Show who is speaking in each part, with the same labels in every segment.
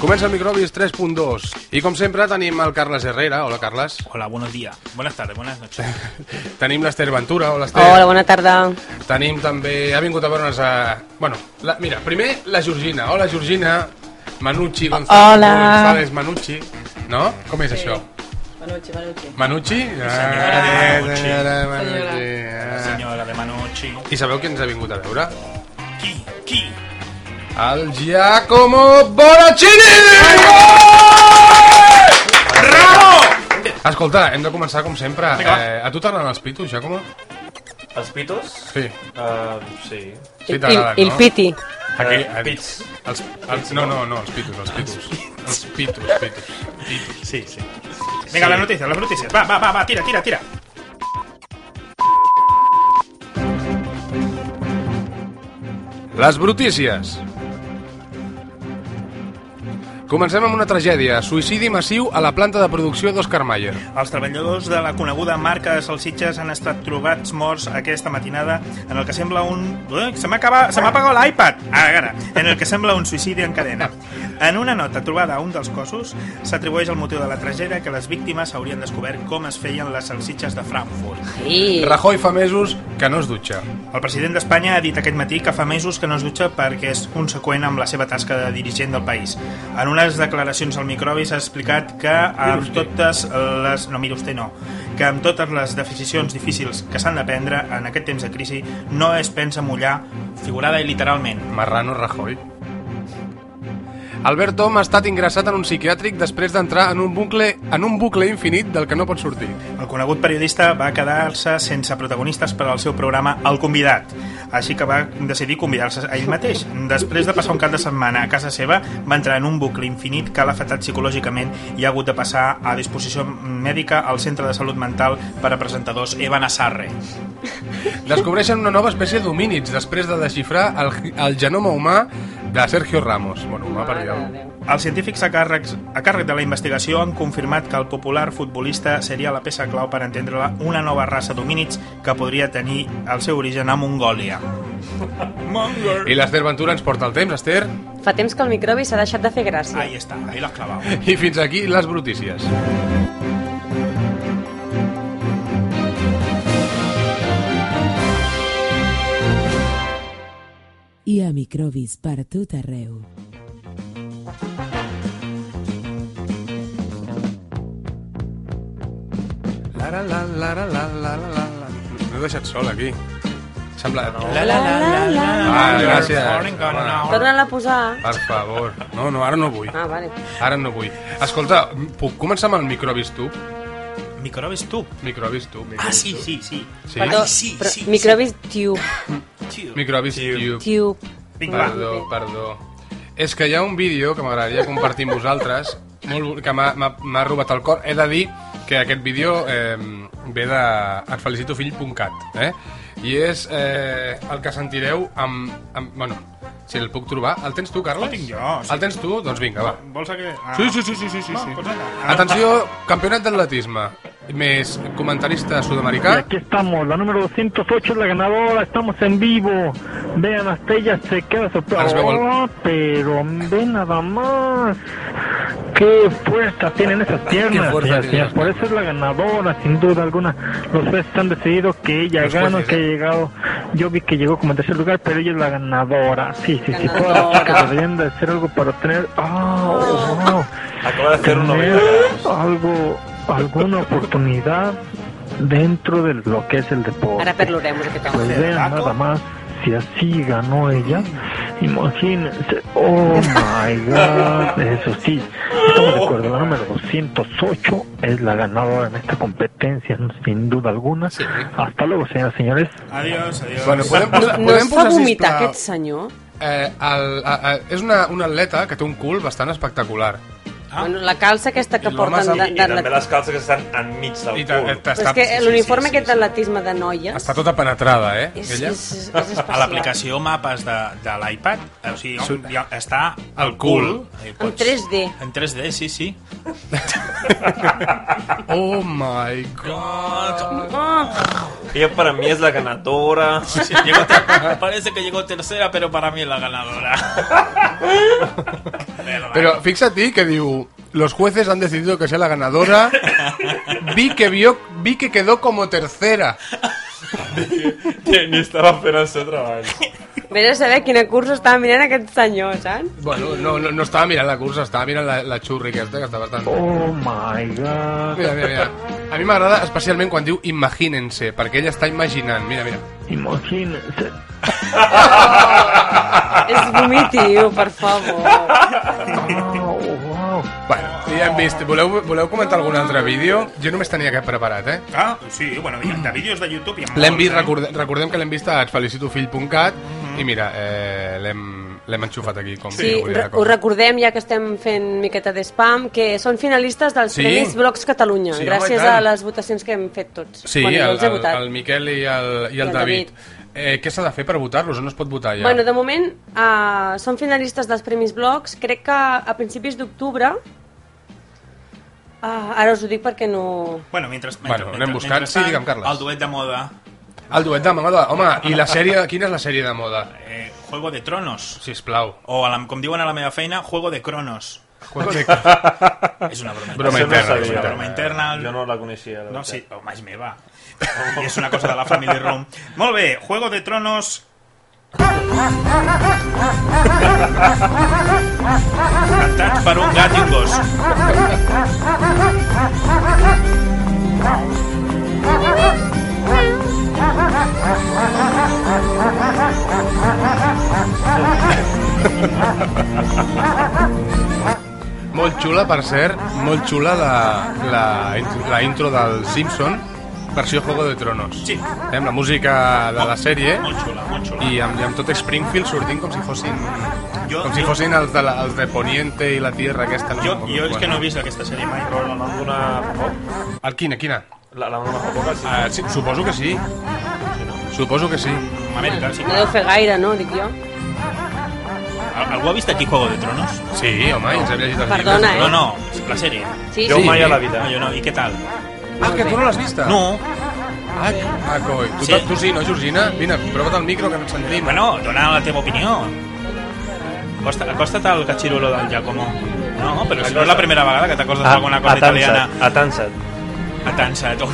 Speaker 1: Comença el Microbis 3.2 i com sempre tenim el Carles Herrera. Hola, Carles.
Speaker 2: Hola, buenos días. Buenas tardes, buenas noches.
Speaker 1: Tenim l'Ester Ventura. Hola, Ester.
Speaker 3: Hola, bona tarda.
Speaker 1: Tenim també... Ha vingut a veure'ns a... Bueno, la, mira, primer la Georgina. Hola, Georgina. Manucci González.
Speaker 3: Hola.
Speaker 1: González Manucci. No? Com és això?
Speaker 3: Manucci, Manucci.
Speaker 1: Manucci?
Speaker 2: senyora de
Speaker 1: Ah, senyora de
Speaker 2: Manucci.
Speaker 1: Manucci. Ah.
Speaker 2: Senyora de Manucci.
Speaker 1: I sabeu qui ens ha vingut a veure?
Speaker 2: Qui? Qui?
Speaker 1: El Giacomo Bonaccini!
Speaker 2: Bravo!
Speaker 1: Escolta, hem de començar com sempre.
Speaker 2: Vinga, va.
Speaker 1: Eh, a tu t'agraden els pitos, Giacomo?
Speaker 4: Els pitos?
Speaker 1: Sí.
Speaker 4: Uh, sí.
Speaker 1: Sí, t'agraden,
Speaker 3: Il, il
Speaker 1: no?
Speaker 3: Piti.
Speaker 1: Aquí,
Speaker 4: Eh,
Speaker 1: eh,
Speaker 4: pits.
Speaker 1: Els, els, no, no, no, els pitos, els pitos. Els pitos, pitos. pitos.
Speaker 2: Sí, sí. Vinga, las noticias, las noticias. Va, va, va, va, tira, tira, tira.
Speaker 1: Les brutícies. Comencem amb una tragèdia. Suïcidi massiu a la planta de producció d'Oscar Mayer.
Speaker 2: Els treballadors de la coneguda marca de salsitxes han estat trobats morts aquesta matinada en el que sembla un... Eh, Se m'ha acaba- se m'ha apagat l'iPad! Ah, Ara, en el que sembla un suïcidi en cadena. En una nota trobada a un dels cossos, s'atribueix el motiu de la tragèdia que les víctimes haurien descobert com es feien les salsitxes de Frankfurt.
Speaker 3: Sí.
Speaker 1: Rajoy fa mesos que no es dutxa.
Speaker 2: El president d'Espanya ha dit aquest matí que fa mesos que no es dutxa perquè és conseqüent amb la seva tasca de dirigent del país. En unes declaracions al microbi s'ha explicat que amb totes les... No, mira vostè no. Que amb totes les decisions difícils que s'han de prendre en aquest temps de crisi no es pensa mullar figurada i literalment.
Speaker 1: Marrano Rajoy. Albert Tom ha estat ingressat en un psiquiàtric després d'entrar en un bucle en un bucle infinit del que no pot sortir.
Speaker 2: El conegut periodista va quedar-se sense protagonistes per al seu programa El Convidat, així que va decidir convidar-se a ell mateix. Després de passar un cap de setmana a casa seva, va entrar en un bucle infinit que l'ha afectat psicològicament i ha hagut de passar a disposició mèdica al Centre de Salut Mental per a presentadors Evan Assarre.
Speaker 1: Descobreixen una nova espècie d'homínids després de desxifrar el, el genoma humà de Sergio Ramos. Bueno, humà per dir
Speaker 3: Mare de Déu.
Speaker 2: Els científics a, càrrecs, a càrrec de la investigació han confirmat que el popular futbolista seria la peça clau per entendre una nova raça d'homínids que podria tenir el seu origen a Mongòlia. Mongòlia.
Speaker 1: I l'Ester Ventura ens porta el temps, Ester.
Speaker 3: Fa temps que el microbi s'ha deixat de fer gràcia.
Speaker 2: Ahí está, ahí lo has clavado.
Speaker 1: I fins aquí les brutícies.
Speaker 5: i a microbis per tot arreu.
Speaker 1: Lara, la, la, la, la, la, la, la. M'he deixat sol aquí. Sembla... No.
Speaker 2: La la la la la.
Speaker 1: Ah, gràcies.
Speaker 3: Torna-la a posar.
Speaker 1: Per favor. No, no, ara no vull.
Speaker 3: Ah, vale.
Speaker 1: Ara no vull. Escolta, puc començar amb el microbis tu?
Speaker 2: Microbes tú.
Speaker 1: Microbis tu.
Speaker 2: Ah, sí, sí, sí.
Speaker 1: Sí?
Speaker 3: Perdó,
Speaker 2: sí,
Speaker 3: però
Speaker 2: sí,
Speaker 3: microbis tube,
Speaker 1: Microbis Tube.
Speaker 3: tube.
Speaker 2: Vinga, va.
Speaker 1: Perdó, perdó. És que hi ha un vídeo que m'agradaria compartir amb vosaltres, molt, bo- que m'ha- m'ha m'ha robat el cor. He de dir que aquest vídeo eh, ve de etfelicitofill.cat, eh? I és eh, el que sentireu amb, amb... Bueno, si el puc trobar. El tens tu, Carles?
Speaker 2: El tinc jo, sí.
Speaker 1: El tens tu? Doncs vinga, va.
Speaker 2: Vols que... Ah.
Speaker 1: Sí, sí, sí, sí, sí, sí.
Speaker 2: Va,
Speaker 1: sí.
Speaker 2: pues vinga.
Speaker 1: Atenció, campionat d'atletisme. Més comentarista
Speaker 6: Y
Speaker 1: sud-americà.
Speaker 6: aquí estamos, la número 208 es la ganadora, estamos en vivo. Vean, hasta ella se queda
Speaker 1: Ahora
Speaker 6: sorpresa.
Speaker 1: se ve gol.
Speaker 6: Oh, pero ve nada más. Qué fuerza tienen esas piernas,
Speaker 1: fuerza
Speaker 6: señoras y
Speaker 1: tienen
Speaker 6: señores. Por eso es la ganadora, sin duda alguna. Los jueces han decidido que ella
Speaker 1: Los
Speaker 6: gana,
Speaker 1: jueces,
Speaker 6: que ha
Speaker 1: ¿eh?
Speaker 6: llegado. Yo vi que llegó como en tercer lugar, pero ella es la ganadora. Sí, sí, sí. Todas las
Speaker 3: Ganadora.
Speaker 6: chicas deberían de hacer algo para obtener. Oh, wow
Speaker 4: Acaba de hacer un
Speaker 6: tener
Speaker 4: 90
Speaker 6: algo, alguna oportunidad dentro de lo que es el deporte.
Speaker 3: Ara perlorem aquest
Speaker 6: Pues
Speaker 3: home.
Speaker 6: vean nada más, si así ganó ella, imagínense, oh my god, eso sí, estamos de acuerdo, la número 208 es la ganadora en esta competencia, no, sin duda alguna.
Speaker 1: Sí.
Speaker 6: Hasta luego, señoras y señores.
Speaker 2: Adiós, adiós.
Speaker 1: Bueno, podem posar,
Speaker 3: No
Speaker 1: podem
Speaker 3: es fa
Speaker 1: posar,
Speaker 3: vomitar
Speaker 1: sisplau,
Speaker 3: aquest senyor?
Speaker 1: Eh, el, a, a, és una, una atleta que té un cul bastant espectacular.
Speaker 2: Ah.
Speaker 3: Bueno, la calça aquesta que
Speaker 1: I l'home
Speaker 3: porten
Speaker 1: s'ha-
Speaker 3: de-
Speaker 4: i també
Speaker 3: d'atletisme.
Speaker 4: les calces que estan enmig del
Speaker 1: I ta- eh,
Speaker 4: cul.
Speaker 1: ta-
Speaker 3: Però
Speaker 1: està,
Speaker 3: és que l'uniforme
Speaker 2: sí,
Speaker 3: aquest
Speaker 2: sí.
Speaker 3: d'atletisme de noies
Speaker 1: està tota penetrada, eh?
Speaker 3: és, és,
Speaker 1: Ella?
Speaker 3: és, és especial.
Speaker 2: A l'aplicació Mapes de, de l'iPad, eh, o sigui, on, ja, està al
Speaker 1: cul.
Speaker 2: cul. eh,
Speaker 3: En 3D.
Speaker 2: En 3D, sí, sí.
Speaker 1: Oh my god!
Speaker 4: Ella para mí es la ganadora.
Speaker 2: Sí, llegó ter- parece que llegó tercera, pero para mí es la ganadora.
Speaker 1: Pero fíjate que digo, los jueces han decidido que sea la ganadora. Vi que vio, vi que quedó como tercera.
Speaker 4: Que ni estava fent el seu treball.
Speaker 3: Vés a saber quina cursa estava mirant aquest senyor, saps?
Speaker 1: Bueno, no, no, no estaba mirando la cursa, estaba mirando la, la churri que esta, que está bastante.
Speaker 6: Oh my god.
Speaker 1: Mira, mira, mira. A mi m'agrada especialment quan diu imagínense, perquè ella està imaginant. Mira, mira.
Speaker 6: Imagínense.
Speaker 3: És vomitiu, per favor.
Speaker 6: Oh, wow.
Speaker 1: Bueno, ja hem vist. Voleu, voleu comentar algun altre vídeo? Jo només tenia aquest preparat, eh?
Speaker 2: Ah, sí, bueno, hi ha de vídeos de YouTube i amb
Speaker 1: L'hem
Speaker 2: molts,
Speaker 1: vist,
Speaker 2: eh?
Speaker 1: recordem, recordem que l'hem vist a etfelicitofill.cat i mira, eh, l'hem l'hem enxufat aquí com
Speaker 3: Sí,
Speaker 1: si no
Speaker 3: re-
Speaker 1: hubiera
Speaker 3: us
Speaker 1: cosa.
Speaker 3: recordem, ja que estem fent miqueta de spam, que són finalistes dels
Speaker 1: Sí.
Speaker 3: Premis Blocs Catalunya,
Speaker 1: Sí, home,
Speaker 3: gràcies
Speaker 1: i tant.
Speaker 3: a les votacions que hem fet tots.
Speaker 1: Sí,
Speaker 3: bueno, jo
Speaker 1: el,
Speaker 3: els he
Speaker 1: el,
Speaker 3: votat.
Speaker 1: el Miquel i el, i el David. Eh, què s'ha de fer per votar-los? On es pot votar ja?
Speaker 3: Bueno, de moment uh, són finalistes dels Premis Blocs. Crec que a principis d'octubre... Uh, ara us ho dic perquè no...
Speaker 2: Bueno, mentre, mentre,
Speaker 1: Bueno, anem
Speaker 2: mentre-
Speaker 1: buscant.
Speaker 2: mentrestant,
Speaker 1: Sí, digue'm, Carles.
Speaker 2: El duet de moda,
Speaker 1: El duet de moda. Home, i la sèrie... Quina és la sèrie de moda?
Speaker 2: eh, Juego de Tronos.
Speaker 1: Si plau.
Speaker 2: O, a la, com diuen a la meva feina, Juego de Cronos.
Speaker 1: Juego de...
Speaker 2: És una broma,
Speaker 1: Broma interna,
Speaker 4: Això
Speaker 2: interna. És
Speaker 4: sabia.
Speaker 2: una broma interna.
Speaker 4: Ah, Jo no la coneixia. la veritat.
Speaker 2: No, sí, o més meva. I és una cosa de la Family Room. Molt bé, Juego de Tronos... Cantat per un gat i un gos.
Speaker 1: Molt xula, per cert, molt xula la, la, la intro del Simpson, versió Juego de Tronos.
Speaker 2: Sí.
Speaker 1: Eh, amb la música de la sèrie
Speaker 2: Molt xula, molt xula.
Speaker 1: i amb, i amb tot Springfield sortint com si fossin,
Speaker 2: Jo-
Speaker 1: com si
Speaker 2: jo-
Speaker 1: fossin els de, la, els de Poniente i la Tierra aquesta. No
Speaker 2: Jo,
Speaker 1: sé com-
Speaker 2: jo és que no he vist aquesta sèrie mai.
Speaker 4: Però la van donar fa poc?
Speaker 1: El quina, quina?
Speaker 4: La, la van donar fa poc, sí.
Speaker 1: Ah, sí, suposo que sí. Suposo que sí.
Speaker 2: Amèrica, sí.
Speaker 3: No deu fer gaire, no? Dic jo.
Speaker 2: Al- Algú ha vist aquí Juego de Tronos?
Speaker 1: Sí, home, ens hem llegit els
Speaker 3: Perdona, eh?
Speaker 2: No, no, la sèrie.
Speaker 3: Sí,
Speaker 4: Jo
Speaker 1: Sí.
Speaker 3: sí.
Speaker 4: mai a la vida.
Speaker 2: No, jo no. I què tal?
Speaker 1: llibres. Ah, que tu no l'has vista?
Speaker 2: No.
Speaker 1: Ah, ah coi. Tu,
Speaker 2: Sí.
Speaker 1: tu sí, no, Georgina? Vine, prova't el micro que ens sentim.
Speaker 2: Bueno, dona la teva opinió. Acosta, acosta't al cachirulo del Giacomo. No, però si no és Ah, la primera vegada que t'acostes
Speaker 4: Ah,
Speaker 2: a alguna cosa italiana.
Speaker 4: atansa't.
Speaker 2: A Tansa. tu.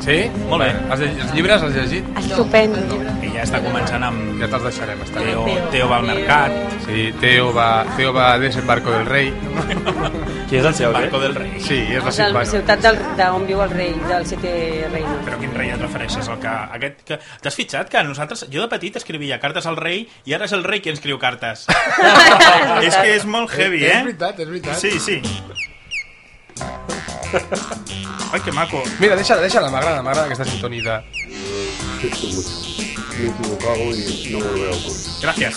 Speaker 1: Sí?
Speaker 2: Molt bé.
Speaker 1: Els, lle- els llibres els llegit?
Speaker 3: Estupendo.
Speaker 2: Que ja està començant amb
Speaker 1: Ja te'ls deixarem, està bé.
Speaker 2: Teo, Teo va al mercat,
Speaker 1: Sí, Teo va, Teo va a Desembarco del Rei.
Speaker 4: Qui és el seu,
Speaker 2: Barco
Speaker 4: eh?
Speaker 2: del Rei.
Speaker 1: Sí, és
Speaker 3: De
Speaker 1: la
Speaker 3: la
Speaker 1: Silvano.
Speaker 3: ciutat del, d'on viu el rei, del setè reino.
Speaker 2: Però quin rei et refereixes? El que, aquest, que... T'has fitxat que nosaltres, jo de petit escrivia cartes al rei i ara és el rei qui ens escriu cartes. és que és molt heavy,
Speaker 1: És
Speaker 2: eh?
Speaker 1: veritat, és veritat.
Speaker 2: Sí, sí. Ai, que maco.
Speaker 1: Mira, deixa-la, deixa-la, m'agrada, m'agrada aquesta sintonita.
Speaker 7: siento mucho. Me he equivocado y no volverá a ocurrir.
Speaker 2: Gràcies.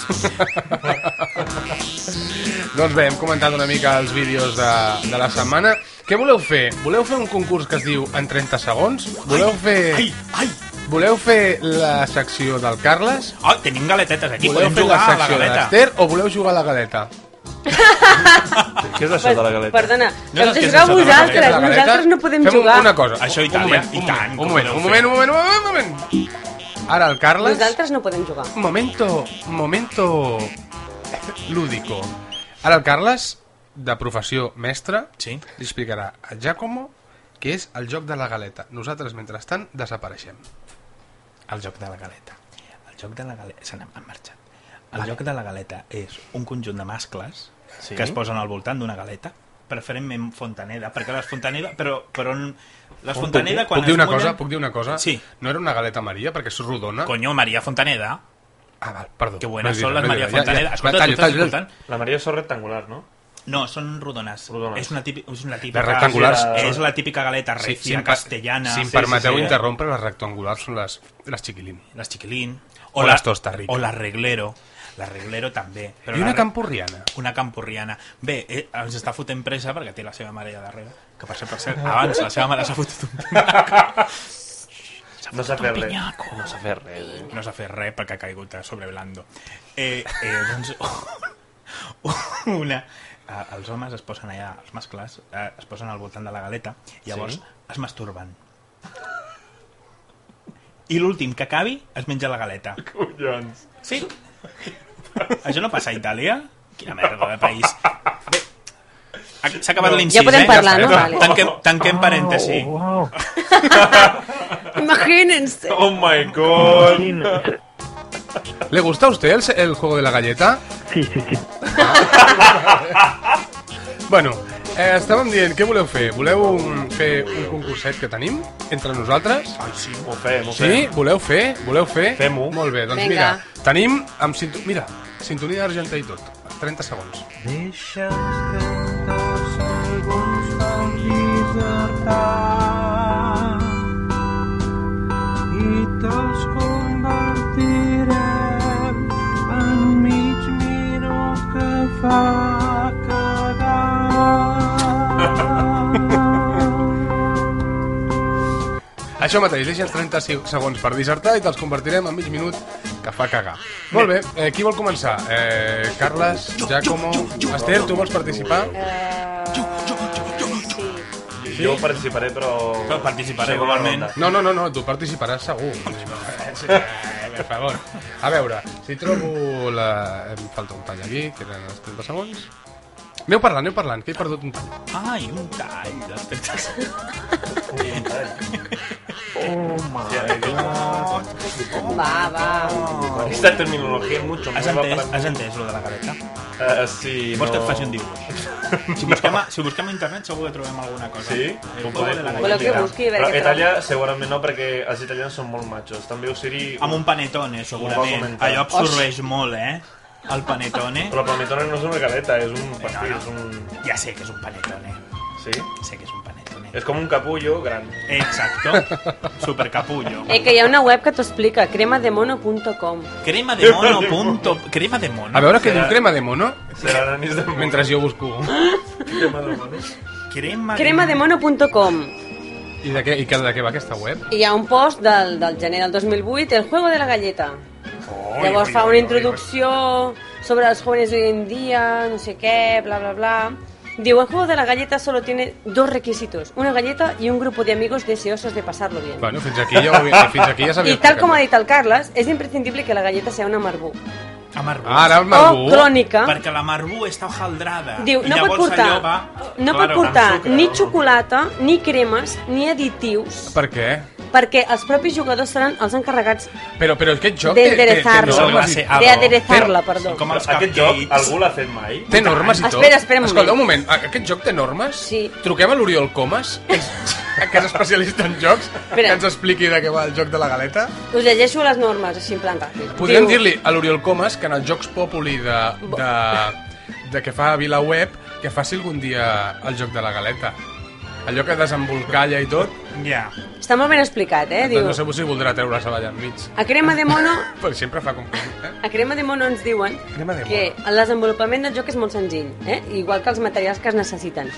Speaker 1: Doncs bé, hem comentat una mica els vídeos de, de la setmana. Què voleu fer? Voleu fer un concurs que es diu En 30 segons? Voleu fer,
Speaker 2: Ai, ai.
Speaker 1: voleu fer la secció del Carles?
Speaker 2: Oh, tenim galetetes aquí.
Speaker 1: Voleu
Speaker 2: Podem
Speaker 1: fer la
Speaker 2: jugar a la
Speaker 1: secció de
Speaker 2: galeta.
Speaker 1: l'Ester o voleu jugar a la galeta?
Speaker 4: Què és això de la galeta?
Speaker 3: Perdona,
Speaker 2: No
Speaker 3: heu
Speaker 2: saps
Speaker 3: de
Speaker 2: què és
Speaker 3: jugar
Speaker 2: això
Speaker 1: Què és
Speaker 2: de la
Speaker 3: vosaltres,
Speaker 1: la galeta?
Speaker 3: nosaltres no podem
Speaker 1: Fem un-
Speaker 3: jugar.
Speaker 1: una cosa.
Speaker 2: Això
Speaker 1: un
Speaker 2: Itàlia,
Speaker 1: moment,
Speaker 2: i
Speaker 1: un
Speaker 2: tant, com
Speaker 1: moment,
Speaker 2: podeu
Speaker 1: Un moment, un moment, un moment, un moment, un moment. Ara el Carles...
Speaker 3: Nosaltres no podem jugar.
Speaker 1: Momento, momento lúdico. Ara el Carles, de professió mestre,
Speaker 2: Sí.
Speaker 1: li explicarà a Giacomo què és el joc de la galeta. Nosaltres, mentrestant, desapareixem.
Speaker 2: El joc de la galeta. El joc de la galeta... Se n'han han marxat. El joc de la galeta és un conjunt de mascles
Speaker 4: Sí.
Speaker 2: sí. que es posen al voltant d'una galeta, preferentment fontaneda, perquè les fontaneda... Però, però on- les fontaneda... Quan
Speaker 1: Puc dir
Speaker 2: es
Speaker 1: una
Speaker 2: mullen-
Speaker 1: cosa? Puc dir una cosa?
Speaker 2: Sí.
Speaker 1: No era una galeta Maria, perquè és rodona.
Speaker 2: Coño, María Fontaneda.
Speaker 1: Ah, val, perdó.
Speaker 2: Que buenas
Speaker 1: No he dit
Speaker 2: son
Speaker 1: res,
Speaker 2: las
Speaker 1: no he dit
Speaker 2: María
Speaker 1: res. Ja,
Speaker 2: Fontaneda.
Speaker 1: ja.
Speaker 2: Escolta,
Speaker 1: Tallo,
Speaker 2: tu estàs
Speaker 1: tallo, tallo.
Speaker 2: escoltant?
Speaker 4: La Maria és rectangular, no?
Speaker 2: No, són rodones.
Speaker 4: Rodones.
Speaker 2: És una típica, és una típica
Speaker 1: rectangulars
Speaker 2: És,
Speaker 1: són-
Speaker 2: la típica galeta
Speaker 1: Sí,
Speaker 2: recia,
Speaker 1: si em pa-
Speaker 2: castellana.
Speaker 1: Si em
Speaker 2: Sí, sí,
Speaker 1: permeteu
Speaker 2: sí.
Speaker 1: interrompre, les rectangulars són les, les xiquilín.
Speaker 2: les chiquilín
Speaker 1: O
Speaker 2: la-
Speaker 1: les Tosta Rica.
Speaker 2: o la reglero la reglero també però
Speaker 1: I
Speaker 2: la
Speaker 1: una
Speaker 2: re-
Speaker 1: campurriana.
Speaker 2: una campurriana bé, eh, ens està fotent presa perquè té la seva mare allà darrere que per cert, per cert abans la seva mare s'ha fotut un pinyaco
Speaker 4: No s'ha fet res.
Speaker 2: pinyaco.
Speaker 4: No s'ha fet res, eh?
Speaker 2: no s'ha fet res perquè ha caigut a sobre blando eh, eh, doncs una eh, els homes es posen allà, els mascles eh, es posen al voltant de la galeta i llavors
Speaker 4: Sí.
Speaker 2: es masturben i l'últim que acabi es menja la galeta
Speaker 4: Collons.
Speaker 2: Sí. Això no passa a Itàlia? Quina merda de país. Bé, ac- s'ha acabat l'incís,
Speaker 3: Ja podem
Speaker 2: eh?
Speaker 3: parlar,
Speaker 2: està.
Speaker 3: no? Vale.
Speaker 2: Tanquem, tanquem parèntesi.
Speaker 6: Oh, wow.
Speaker 3: Imagínense.
Speaker 4: Oh my god.
Speaker 6: Imagínense.
Speaker 1: ¿Le gusta a usted el, se- el juego de la galleta?
Speaker 6: Sí, sí, sí.
Speaker 1: Bueno, eh, estàvem dient, què voleu fer? Voleu un, fer un concurset que tenim entre nosaltres?
Speaker 4: Ai, sí, m'ho fem, m'ho
Speaker 1: Sí? Voleu fer? Voleu fer?
Speaker 4: Fem-ho.
Speaker 1: Molt bé, doncs
Speaker 3: Vinga.
Speaker 1: mira, tenim amb sinto... mira, sintonia d'Argentà i tot. 30 segons. Això mateix, deixa'ns 30 si- segons per dissertar i te'ls convertirem en mig minut que fa cagar. Molt bé, eh, qui vol començar? Eh, Carles, Giacomo, Esther, tu vols participar?
Speaker 3: Eh,
Speaker 4: fem. Jo participaré, però...
Speaker 2: Però participaré,
Speaker 4: Segona
Speaker 2: igualment.
Speaker 4: ronda.
Speaker 1: No, no, no, no, tu participaràs segur. Sí, per favor. A veure, si trobo la... Em falta un tall aquí, que eren els 30 segons. Aneu parlant, aneu parlant, que he perdut un tall.
Speaker 2: Ai, un tall. de-
Speaker 6: Oh, my.
Speaker 3: Va, va.
Speaker 4: Esta terminología es mucho
Speaker 2: Has
Speaker 4: nueva
Speaker 2: entès,
Speaker 4: para-
Speaker 2: has entès lo de la galeta?
Speaker 4: Eh, sí,
Speaker 2: Vols que et
Speaker 4: no.
Speaker 2: faci un dibuix? Si busquem, a, si busquem a internet segur que trobem alguna cosa.
Speaker 4: Sí?
Speaker 2: El poble de la
Speaker 3: Voleu que
Speaker 2: galleta.
Speaker 3: busqui? A
Speaker 4: Però
Speaker 3: veure què trobo.
Speaker 4: Itàlia segurament no, perquè els italians són molt machos. També ho seria...
Speaker 2: Amb un panetone,
Speaker 4: Ho va
Speaker 2: segurament.
Speaker 4: comentar.
Speaker 2: Allò absorbeix molt, eh? El panetone.
Speaker 4: Però el panetone no és una galeta, és un pastel,
Speaker 2: no.
Speaker 4: és un...
Speaker 2: Ja sé que és un panetone.
Speaker 4: Sí?
Speaker 2: Sé que és un panetone.
Speaker 4: És com un capullo gran.
Speaker 2: Exacto. Super capullo.
Speaker 3: Eh, que hi ha una web que t'ho explica, cremademono.com.
Speaker 2: Crema de mono. Punto... Crema de mono.
Speaker 1: A veure què diu crema de mono,
Speaker 4: Serà l'anís de...
Speaker 1: mentre jo busco.
Speaker 4: Crema de mano.
Speaker 2: Crema,
Speaker 3: Cremademono.com.
Speaker 1: I de què, i que- de què va aquesta web?
Speaker 3: Hi ha un post del, del gener del 2008, El juego de la galleta. Llavors fa una introducció sobre els jóvenes de hoy en día, no sé què, bla, bla, bla. Diu, el juego de la galleta solo tiene dos requisitos, una galleta y un grupo de amigos deseosos de pasarlo bien.
Speaker 1: Bueno, fins aquí ja, ho havia- fins aquí ja sabia...
Speaker 3: Y tal como ha dicho el Carles, es imprescindible que la galleta sea una marbú.
Speaker 2: Amargú.
Speaker 1: Ah, Ara el
Speaker 3: O
Speaker 1: Margú...
Speaker 3: crònica.
Speaker 2: Perquè la margú està hojaldrada.
Speaker 3: Diu,
Speaker 2: I
Speaker 3: no pot
Speaker 2: llavors
Speaker 3: portar,
Speaker 2: allò va...
Speaker 3: no pot
Speaker 2: Claro,
Speaker 3: portar
Speaker 2: amb sucre,
Speaker 3: ni
Speaker 2: no?
Speaker 3: xocolata, ni cremes, ni additius,
Speaker 1: Per què?
Speaker 3: perquè els propis jugadors seran els encarregats
Speaker 1: Però, però aquest joc té, té, té,
Speaker 3: d'aderezar-la.
Speaker 2: no,
Speaker 1: normes i,
Speaker 2: va ser-
Speaker 3: De aderezar-la,
Speaker 2: Però,
Speaker 3: perdó.
Speaker 2: Com els
Speaker 4: Aquest joc,
Speaker 2: cupcakes.
Speaker 4: algú l'ha fet mai?
Speaker 1: té normes i tot.
Speaker 3: Espera, espera un moment.
Speaker 1: Escolta, un moment. A- Aquest joc té normes?
Speaker 3: Sí.
Speaker 1: Truquem a l'Oriol Comas, que és, que és especialista en jocs,
Speaker 3: Espera.
Speaker 1: que ens expliqui de què va el joc de la galeta.
Speaker 3: Us llegeixo les normes, així en plan ràpid.
Speaker 1: Podríem
Speaker 3: Diu-
Speaker 1: dir-li a l'Oriol Comas que en els Jocs Populi de, de, de que fa a Vilaweb que faci algun dia el joc de la galeta. Allò que desembolcalla i tot,
Speaker 2: Ja.
Speaker 3: Està molt ben explicat, eh? Diu,
Speaker 1: doncs no sé si voldrà treure la savalla enmig.
Speaker 3: a crema de mono...
Speaker 1: Però sempre fa com... Eh?
Speaker 3: A Crema de Mono ens diuen
Speaker 1: Crema de
Speaker 3: que el desenvolupament del joc és molt senzill, eh? igual que els materials que es necessiten.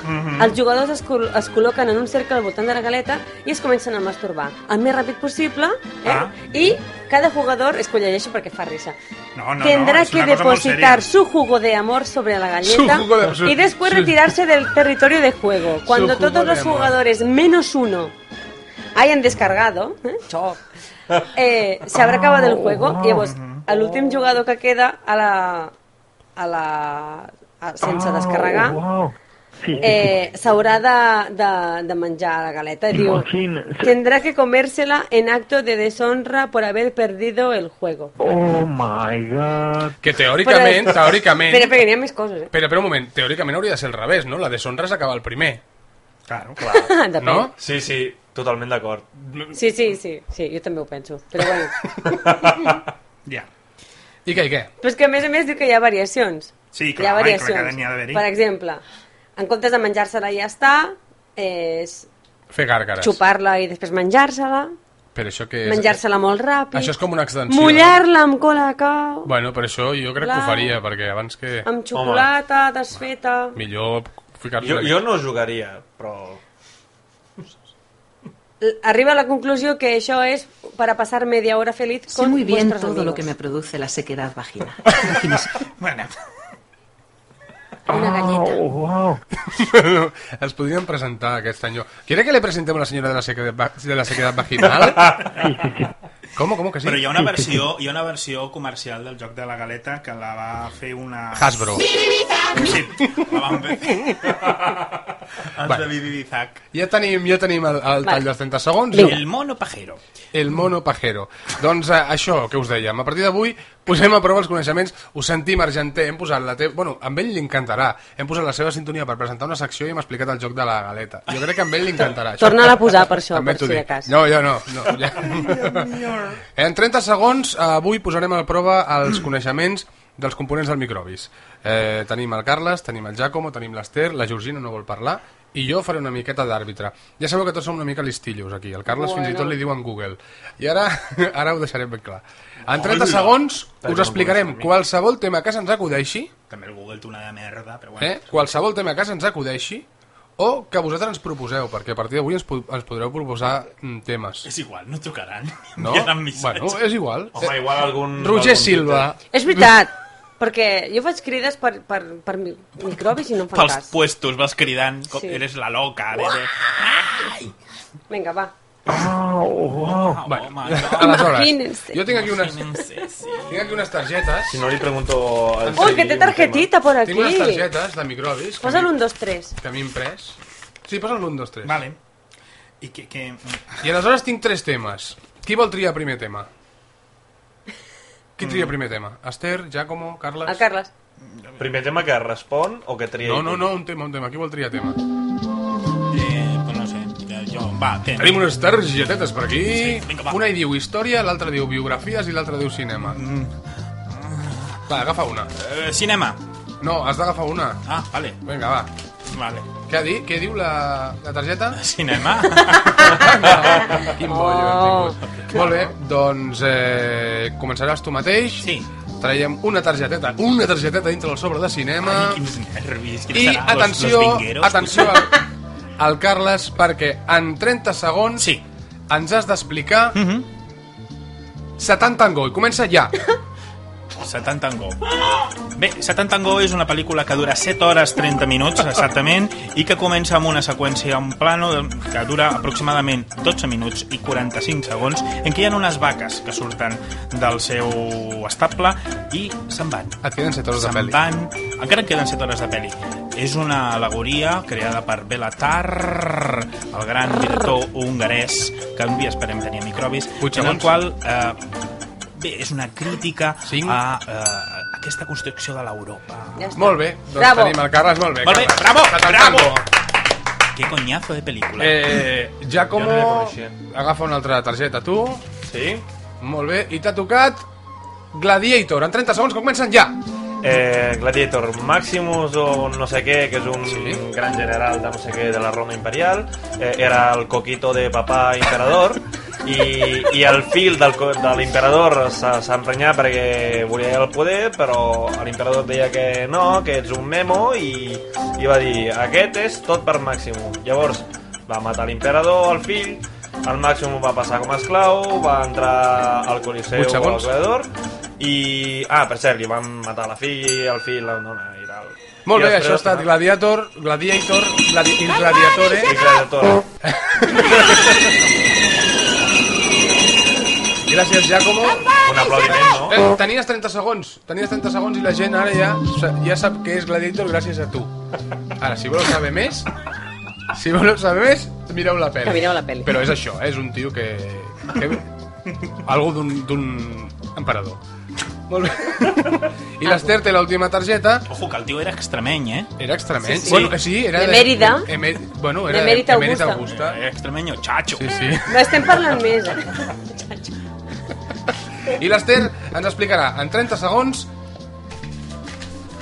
Speaker 3: Els jugadors es, col es col·loquen en un cercle al voltant de la galeta i es comencen a masturbar el més ràpid possible eh?
Speaker 2: Ah.
Speaker 3: i cada jugador, es que ho llegeixo perquè fa risa,
Speaker 2: No, no, no,
Speaker 3: tendrá
Speaker 2: és
Speaker 3: que
Speaker 2: una cosa molt
Speaker 3: depositar
Speaker 2: seria.
Speaker 3: su jugo de amor sobre la
Speaker 1: Su
Speaker 3: galleta
Speaker 1: jugo de- su-
Speaker 3: y después
Speaker 1: su-
Speaker 3: retirarse del territorio de juego. Cuando
Speaker 1: jugo
Speaker 3: todos
Speaker 1: de
Speaker 3: los
Speaker 1: amor.
Speaker 3: jugadores menos uno hayan descargado, ¿eh? Choc. Eh, se habrá acabado el juego y llavors el últim jugador que queda a la... A la a, sense descarregar
Speaker 6: Oh, wow. Sí, sí,
Speaker 3: eh, s'haurà de, de, de menjar la galeta. Diu,
Speaker 6: Imagínense.
Speaker 3: tendrá que comérsela en acto de deshonra por haber perdido el juego.
Speaker 6: sí. Oh, my God.
Speaker 1: Que teòricament,
Speaker 3: Però-
Speaker 1: teòricament...
Speaker 3: Espera, perquè n'hi ha més coses, eh?
Speaker 1: Però, però un moment, teòricament hauria de ser al revés, no? La deshonra s'acaba el primer,
Speaker 2: Claro, clar.
Speaker 3: Depèn.
Speaker 1: no?
Speaker 4: Sí, sí, totalment d'acord.
Speaker 3: Sí, sí, sí, sí, jo també ho penso. Però bueno.
Speaker 2: Ja.
Speaker 1: I què, i què?
Speaker 3: Però és que a més a més diu que hi ha variacions. hi
Speaker 2: Sí, clar,
Speaker 3: ha
Speaker 2: clar,
Speaker 3: variacions.
Speaker 2: cada n'hi ha d'haver-hi.
Speaker 3: per exemple, en comptes de menjar-se-la i ja està, és
Speaker 1: Fer gàrgares.
Speaker 3: xupar-la i després menjar-se-la,
Speaker 1: Però això que és...
Speaker 3: menjar-se-la molt ràpid,
Speaker 1: Això és com una extensió.
Speaker 3: mullar-la amb cola de cau,
Speaker 1: Bueno, per això jo crec que ho
Speaker 3: Clar.
Speaker 1: faria, perquè abans que...
Speaker 3: amb xocolata desfeta...
Speaker 1: Millor ficar-li...
Speaker 4: Jo,
Speaker 1: una-
Speaker 4: jo no jugaria, però...
Speaker 3: L- Arriba a la conclusió que això és per a passar media hora feliz
Speaker 8: Sé
Speaker 3: con
Speaker 8: muy bien
Speaker 3: vuestros
Speaker 8: todo
Speaker 3: amigos.
Speaker 8: lo que me produce la sequedad vagina.
Speaker 2: Bueno,
Speaker 3: Una galleta.
Speaker 6: Oh, wow.
Speaker 1: es podrien presentar aquest senyor. ¿Quiere que le presentemos a la senyora de la sequedat, va- de la sequedat vaginal? ¿Cómo? ¿Cómo que sí?
Speaker 2: Però hi ha, una
Speaker 6: Sí, sí,
Speaker 2: versió, hi ha una versió comercial del joc de la galeta que la va fer una...
Speaker 1: Hasbro.
Speaker 2: Sí, la van fer. Els de Bibi Bizac.
Speaker 1: Ja tenim, ja tenim el, el tall
Speaker 3: Vale.
Speaker 1: dels 30 segons.
Speaker 2: El mono pajero.
Speaker 1: El mono pajero. Doncs eh, això que us dèiem, a partir d'avui posem a prova els coneixements, ho sentim Argenté, hem posat la teva... Bueno, a ell li encantarà. Hem posat la seva sintonia per presentar una secció i hem explicat el joc de la galeta. Jo crec que a ell li encantarà. això.
Speaker 3: Torna-la a posar per això,
Speaker 1: També
Speaker 3: per
Speaker 1: t'ho
Speaker 3: si de
Speaker 1: dic.
Speaker 3: cas.
Speaker 1: No, jo no. no ja. en 30 segons, eh, avui posarem a la prova els coneixements dels components del microbis. Eh, tenim el Carles, tenim el Giacomo, tenim l'Ester, la Georgina no vol parlar, i jo faré una miqueta d'àrbitre. Ja sabeu que tots som una mica listillos aquí. El Carles bueno. fins i tot li diuen Google. I ara ara ho deixarem ben clar. En 30 segons us explicarem qualsevol tema que se'ns acudeixi,
Speaker 2: També el Google té una de merda, però bueno.
Speaker 1: eh? qualsevol tema que se'ns acudeixi, o que vosaltres ens proposeu, perquè a partir d'avui ens, po- ens podreu proposar mm, temes.
Speaker 2: És igual, no trucaran.
Speaker 1: No?
Speaker 2: Enviaran missatges.
Speaker 1: Bueno, és igual. Eh,
Speaker 4: Home, igual algun...
Speaker 1: Roger
Speaker 4: algun
Speaker 1: Silva.
Speaker 3: És veritat, perquè jo faig crides per, per, per mi- microbis i no em fan
Speaker 2: Pels
Speaker 3: cas.
Speaker 2: puestos vas cridant, com
Speaker 3: Sí.
Speaker 2: eres la loca. Eres...
Speaker 3: Vinga, va.
Speaker 6: Ah, wow.
Speaker 2: Oh,
Speaker 1: Bueno,
Speaker 2: home, no.
Speaker 1: aleshores,
Speaker 3: Imagínense.
Speaker 1: jo tinc aquí unes,
Speaker 2: Sí, sí.
Speaker 1: tinc aquí unes targetes.
Speaker 4: Si no li pregunto... al
Speaker 3: Ui,
Speaker 4: Sergi
Speaker 3: que té
Speaker 4: un
Speaker 3: targetita per
Speaker 1: Tinc unes
Speaker 3: aquí.
Speaker 1: targetes de microbis que,
Speaker 3: Posa
Speaker 1: mi-
Speaker 3: l'1, 2, 3.
Speaker 1: que m'he imprès. Sí, posa l'1, 2, 3.
Speaker 2: Vale. I que... que... eh,
Speaker 1: I aleshores tinc tres temes. Qui vol triar primer tema? Qui
Speaker 2: Mm.
Speaker 1: tria primer tema? Esther, Giacomo, Carles?
Speaker 3: El Carles.
Speaker 4: tema. Primer tema que respon o que tria...
Speaker 1: No, no, no, un tema, un tema. Qui vol triar tema?
Speaker 2: Eh, pues no sé, ja, jo... Va, ten.
Speaker 1: Tenim unes targetetes per aquí.
Speaker 2: Sí, vinga, va.
Speaker 1: una hi diu història, l'altra diu biografies i l'altra diu cinema.
Speaker 2: Mm.
Speaker 1: Va, agafa una.
Speaker 2: Eh, cinema.
Speaker 1: No, has d'agafar una.
Speaker 2: Ah, vale,
Speaker 1: Vinga, va.
Speaker 2: vale.
Speaker 1: Què, di què diu la, la targeta?
Speaker 2: Cinema.
Speaker 1: Quin bollo oh. hem tingut. Molt bé, doncs eh, començaràs tu mateix.
Speaker 2: Sí.
Speaker 1: Traiem una targeteta, una targeteta dintre del sobre de cinema.
Speaker 2: Ai, quins nervis. quins
Speaker 1: I
Speaker 2: seran, los-
Speaker 1: atenció,
Speaker 2: los vingueros.
Speaker 1: atenció al, al Carles, perquè en 30 segons
Speaker 2: Sí.
Speaker 1: ens has d'explicar mm -hmm. 70 Tango, i comença ja.
Speaker 2: Satan Tango. Bé, Satan Tango és una pel·lícula que dura 7 hores 30 minuts, exactament, i que comença amb una seqüència, un plano de- que dura aproximadament 12 minuts i 45 segons, en què hi ha unes vaques que surten del seu estable i se'n van.
Speaker 1: Et queden 7 hores de
Speaker 2: Se'n
Speaker 1: pel·li.
Speaker 2: van. Encara en queden 7 hores de pel·li. És una alegoria creada per Belatar, el gran director hongarès, que un dia esperem tenir a microbis,
Speaker 1: Vuit
Speaker 2: en el
Speaker 1: segons.
Speaker 2: qual eh, bé, és una crítica
Speaker 1: Cinc.
Speaker 2: a eh, aquesta construcció de l'Europa.
Speaker 3: Ja està.
Speaker 1: Molt bé, doncs
Speaker 3: Bravo.
Speaker 1: tenim el Carles, molt bé.
Speaker 2: Molt bé,
Speaker 1: Carles.
Speaker 2: bravo,
Speaker 1: 70
Speaker 2: bravo.
Speaker 1: Tango.
Speaker 2: Que coñazo de pel·lícula.
Speaker 1: Eh, Giacomo,
Speaker 4: Jo no la coneixia.
Speaker 1: agafa una altra targeta, tu.
Speaker 4: Sí?
Speaker 1: Molt bé, i t'ha tocat Gladiator. En 30 segons comencen ja.
Speaker 4: Eh, Gladiator Maximus o no sé què, que és un
Speaker 1: Sí.
Speaker 4: gran general de no sé què de la Roma Imperial, eh, era el coquito de papà imperador i, i el fill del, co- de l'imperador s'ha s'ha emprenyat perquè volia el poder, però l'imperador deia que no, que ets un memo i, i va dir, aquest és tot per Maximus. Llavors va matar l'imperador, el fill, el Maximus va passar com a esclau, va entrar al Coliseu,
Speaker 1: Vuit segons.
Speaker 4: al gladiador i... Ah, per cert, li van matar la filla, el fill, la dona i tal.
Speaker 1: Molt
Speaker 4: I
Speaker 1: bé,
Speaker 4: després
Speaker 1: això ha estat
Speaker 4: el-
Speaker 1: Gladiator, Gladiator, gladi il Gladiatore.
Speaker 4: el gladiador.
Speaker 1: Gràcies, Giacomo.
Speaker 4: Un aplaudiment, no?
Speaker 1: Eh, tenies 30 segons, tenies 30 segons i la gent ara ja, sa- ja sap que és Gladiator gràcies a tu. Ara, si voleu saber més, si voleu saber més, mireu la pel·li.
Speaker 3: Que mireu la pel·li.
Speaker 1: Però és això, eh, és un tio que... que... Algo d'un d'un emperador. Molt bé. I l'Ester té l'última targeta,
Speaker 2: Ojo, que el tio era extremeny, eh?
Speaker 1: Era extremeny.
Speaker 3: Sí, sí.
Speaker 1: Bueno, eh, sí, era
Speaker 3: De Mérida.
Speaker 1: Emer- bueno, era
Speaker 3: De Mérida
Speaker 1: de Mérida
Speaker 3: Augusta.
Speaker 1: Augusta.
Speaker 2: Era extremeño, chacho.
Speaker 1: Sí, sí.
Speaker 3: No estem parlant més, eh?
Speaker 1: I l'Ester ens explicarà en 30 segons...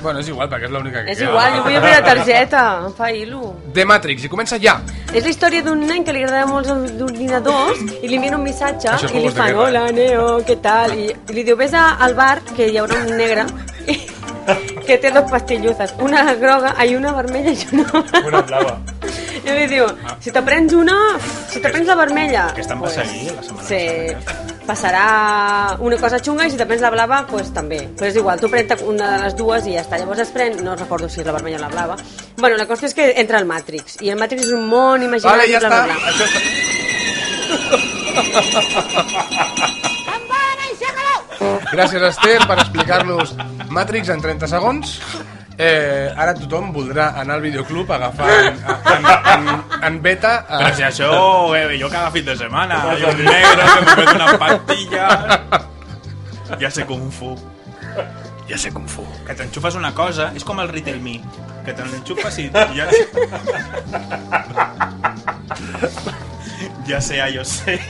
Speaker 1: Bueno, és igual, perquè és l'única que
Speaker 3: És
Speaker 1: queda.
Speaker 3: igual, jo vull obrir la targeta. Em fa il·lu.
Speaker 1: The Matrix, i comença ja.
Speaker 3: És la història d'un nen que li agrada molt els ordinadors i li envien un missatge
Speaker 1: Això
Speaker 3: i li
Speaker 1: és juegos de
Speaker 3: fan
Speaker 1: guerra.
Speaker 3: hola, Neo, què tal? I, i li diu, vés a- al bar que hi haurà un negre que té dos pastilluzas, una groga i una vermella i una...
Speaker 4: Una blava.
Speaker 3: I li diu, si te prens una, si te prens la vermella...
Speaker 2: Aquesta em va seguir la setmana
Speaker 3: Sí, passarà una cosa xunga i si te prens la blava, doncs pues, també. Però és igual, tu prens una de les dues i ja està. Llavors es pren, no recordo si és la vermella o la blava. Bueno, la qüestió és que entra el Matrix. I el Matrix és un món imaginari,
Speaker 1: Vale, ja
Speaker 3: bla,
Speaker 1: està.
Speaker 3: bla, bla.
Speaker 1: Això està. Gràcies, Esther, per explicar-nos Matrix en 30 segons. Eh, ara tothom voldrà anar al videoclub a agafar en, en, en, en beta... Eh, A...
Speaker 9: Pero si eso, eh, yo cada fin de semana, yo negro, que me meto unas pastillas. Ya sé Kung Fu. Ya sé Kung Fu. Que t'enxufes una cosa, és com el Retail Me. Que te l'enxufes i ja... ja sé, ah, jo sé.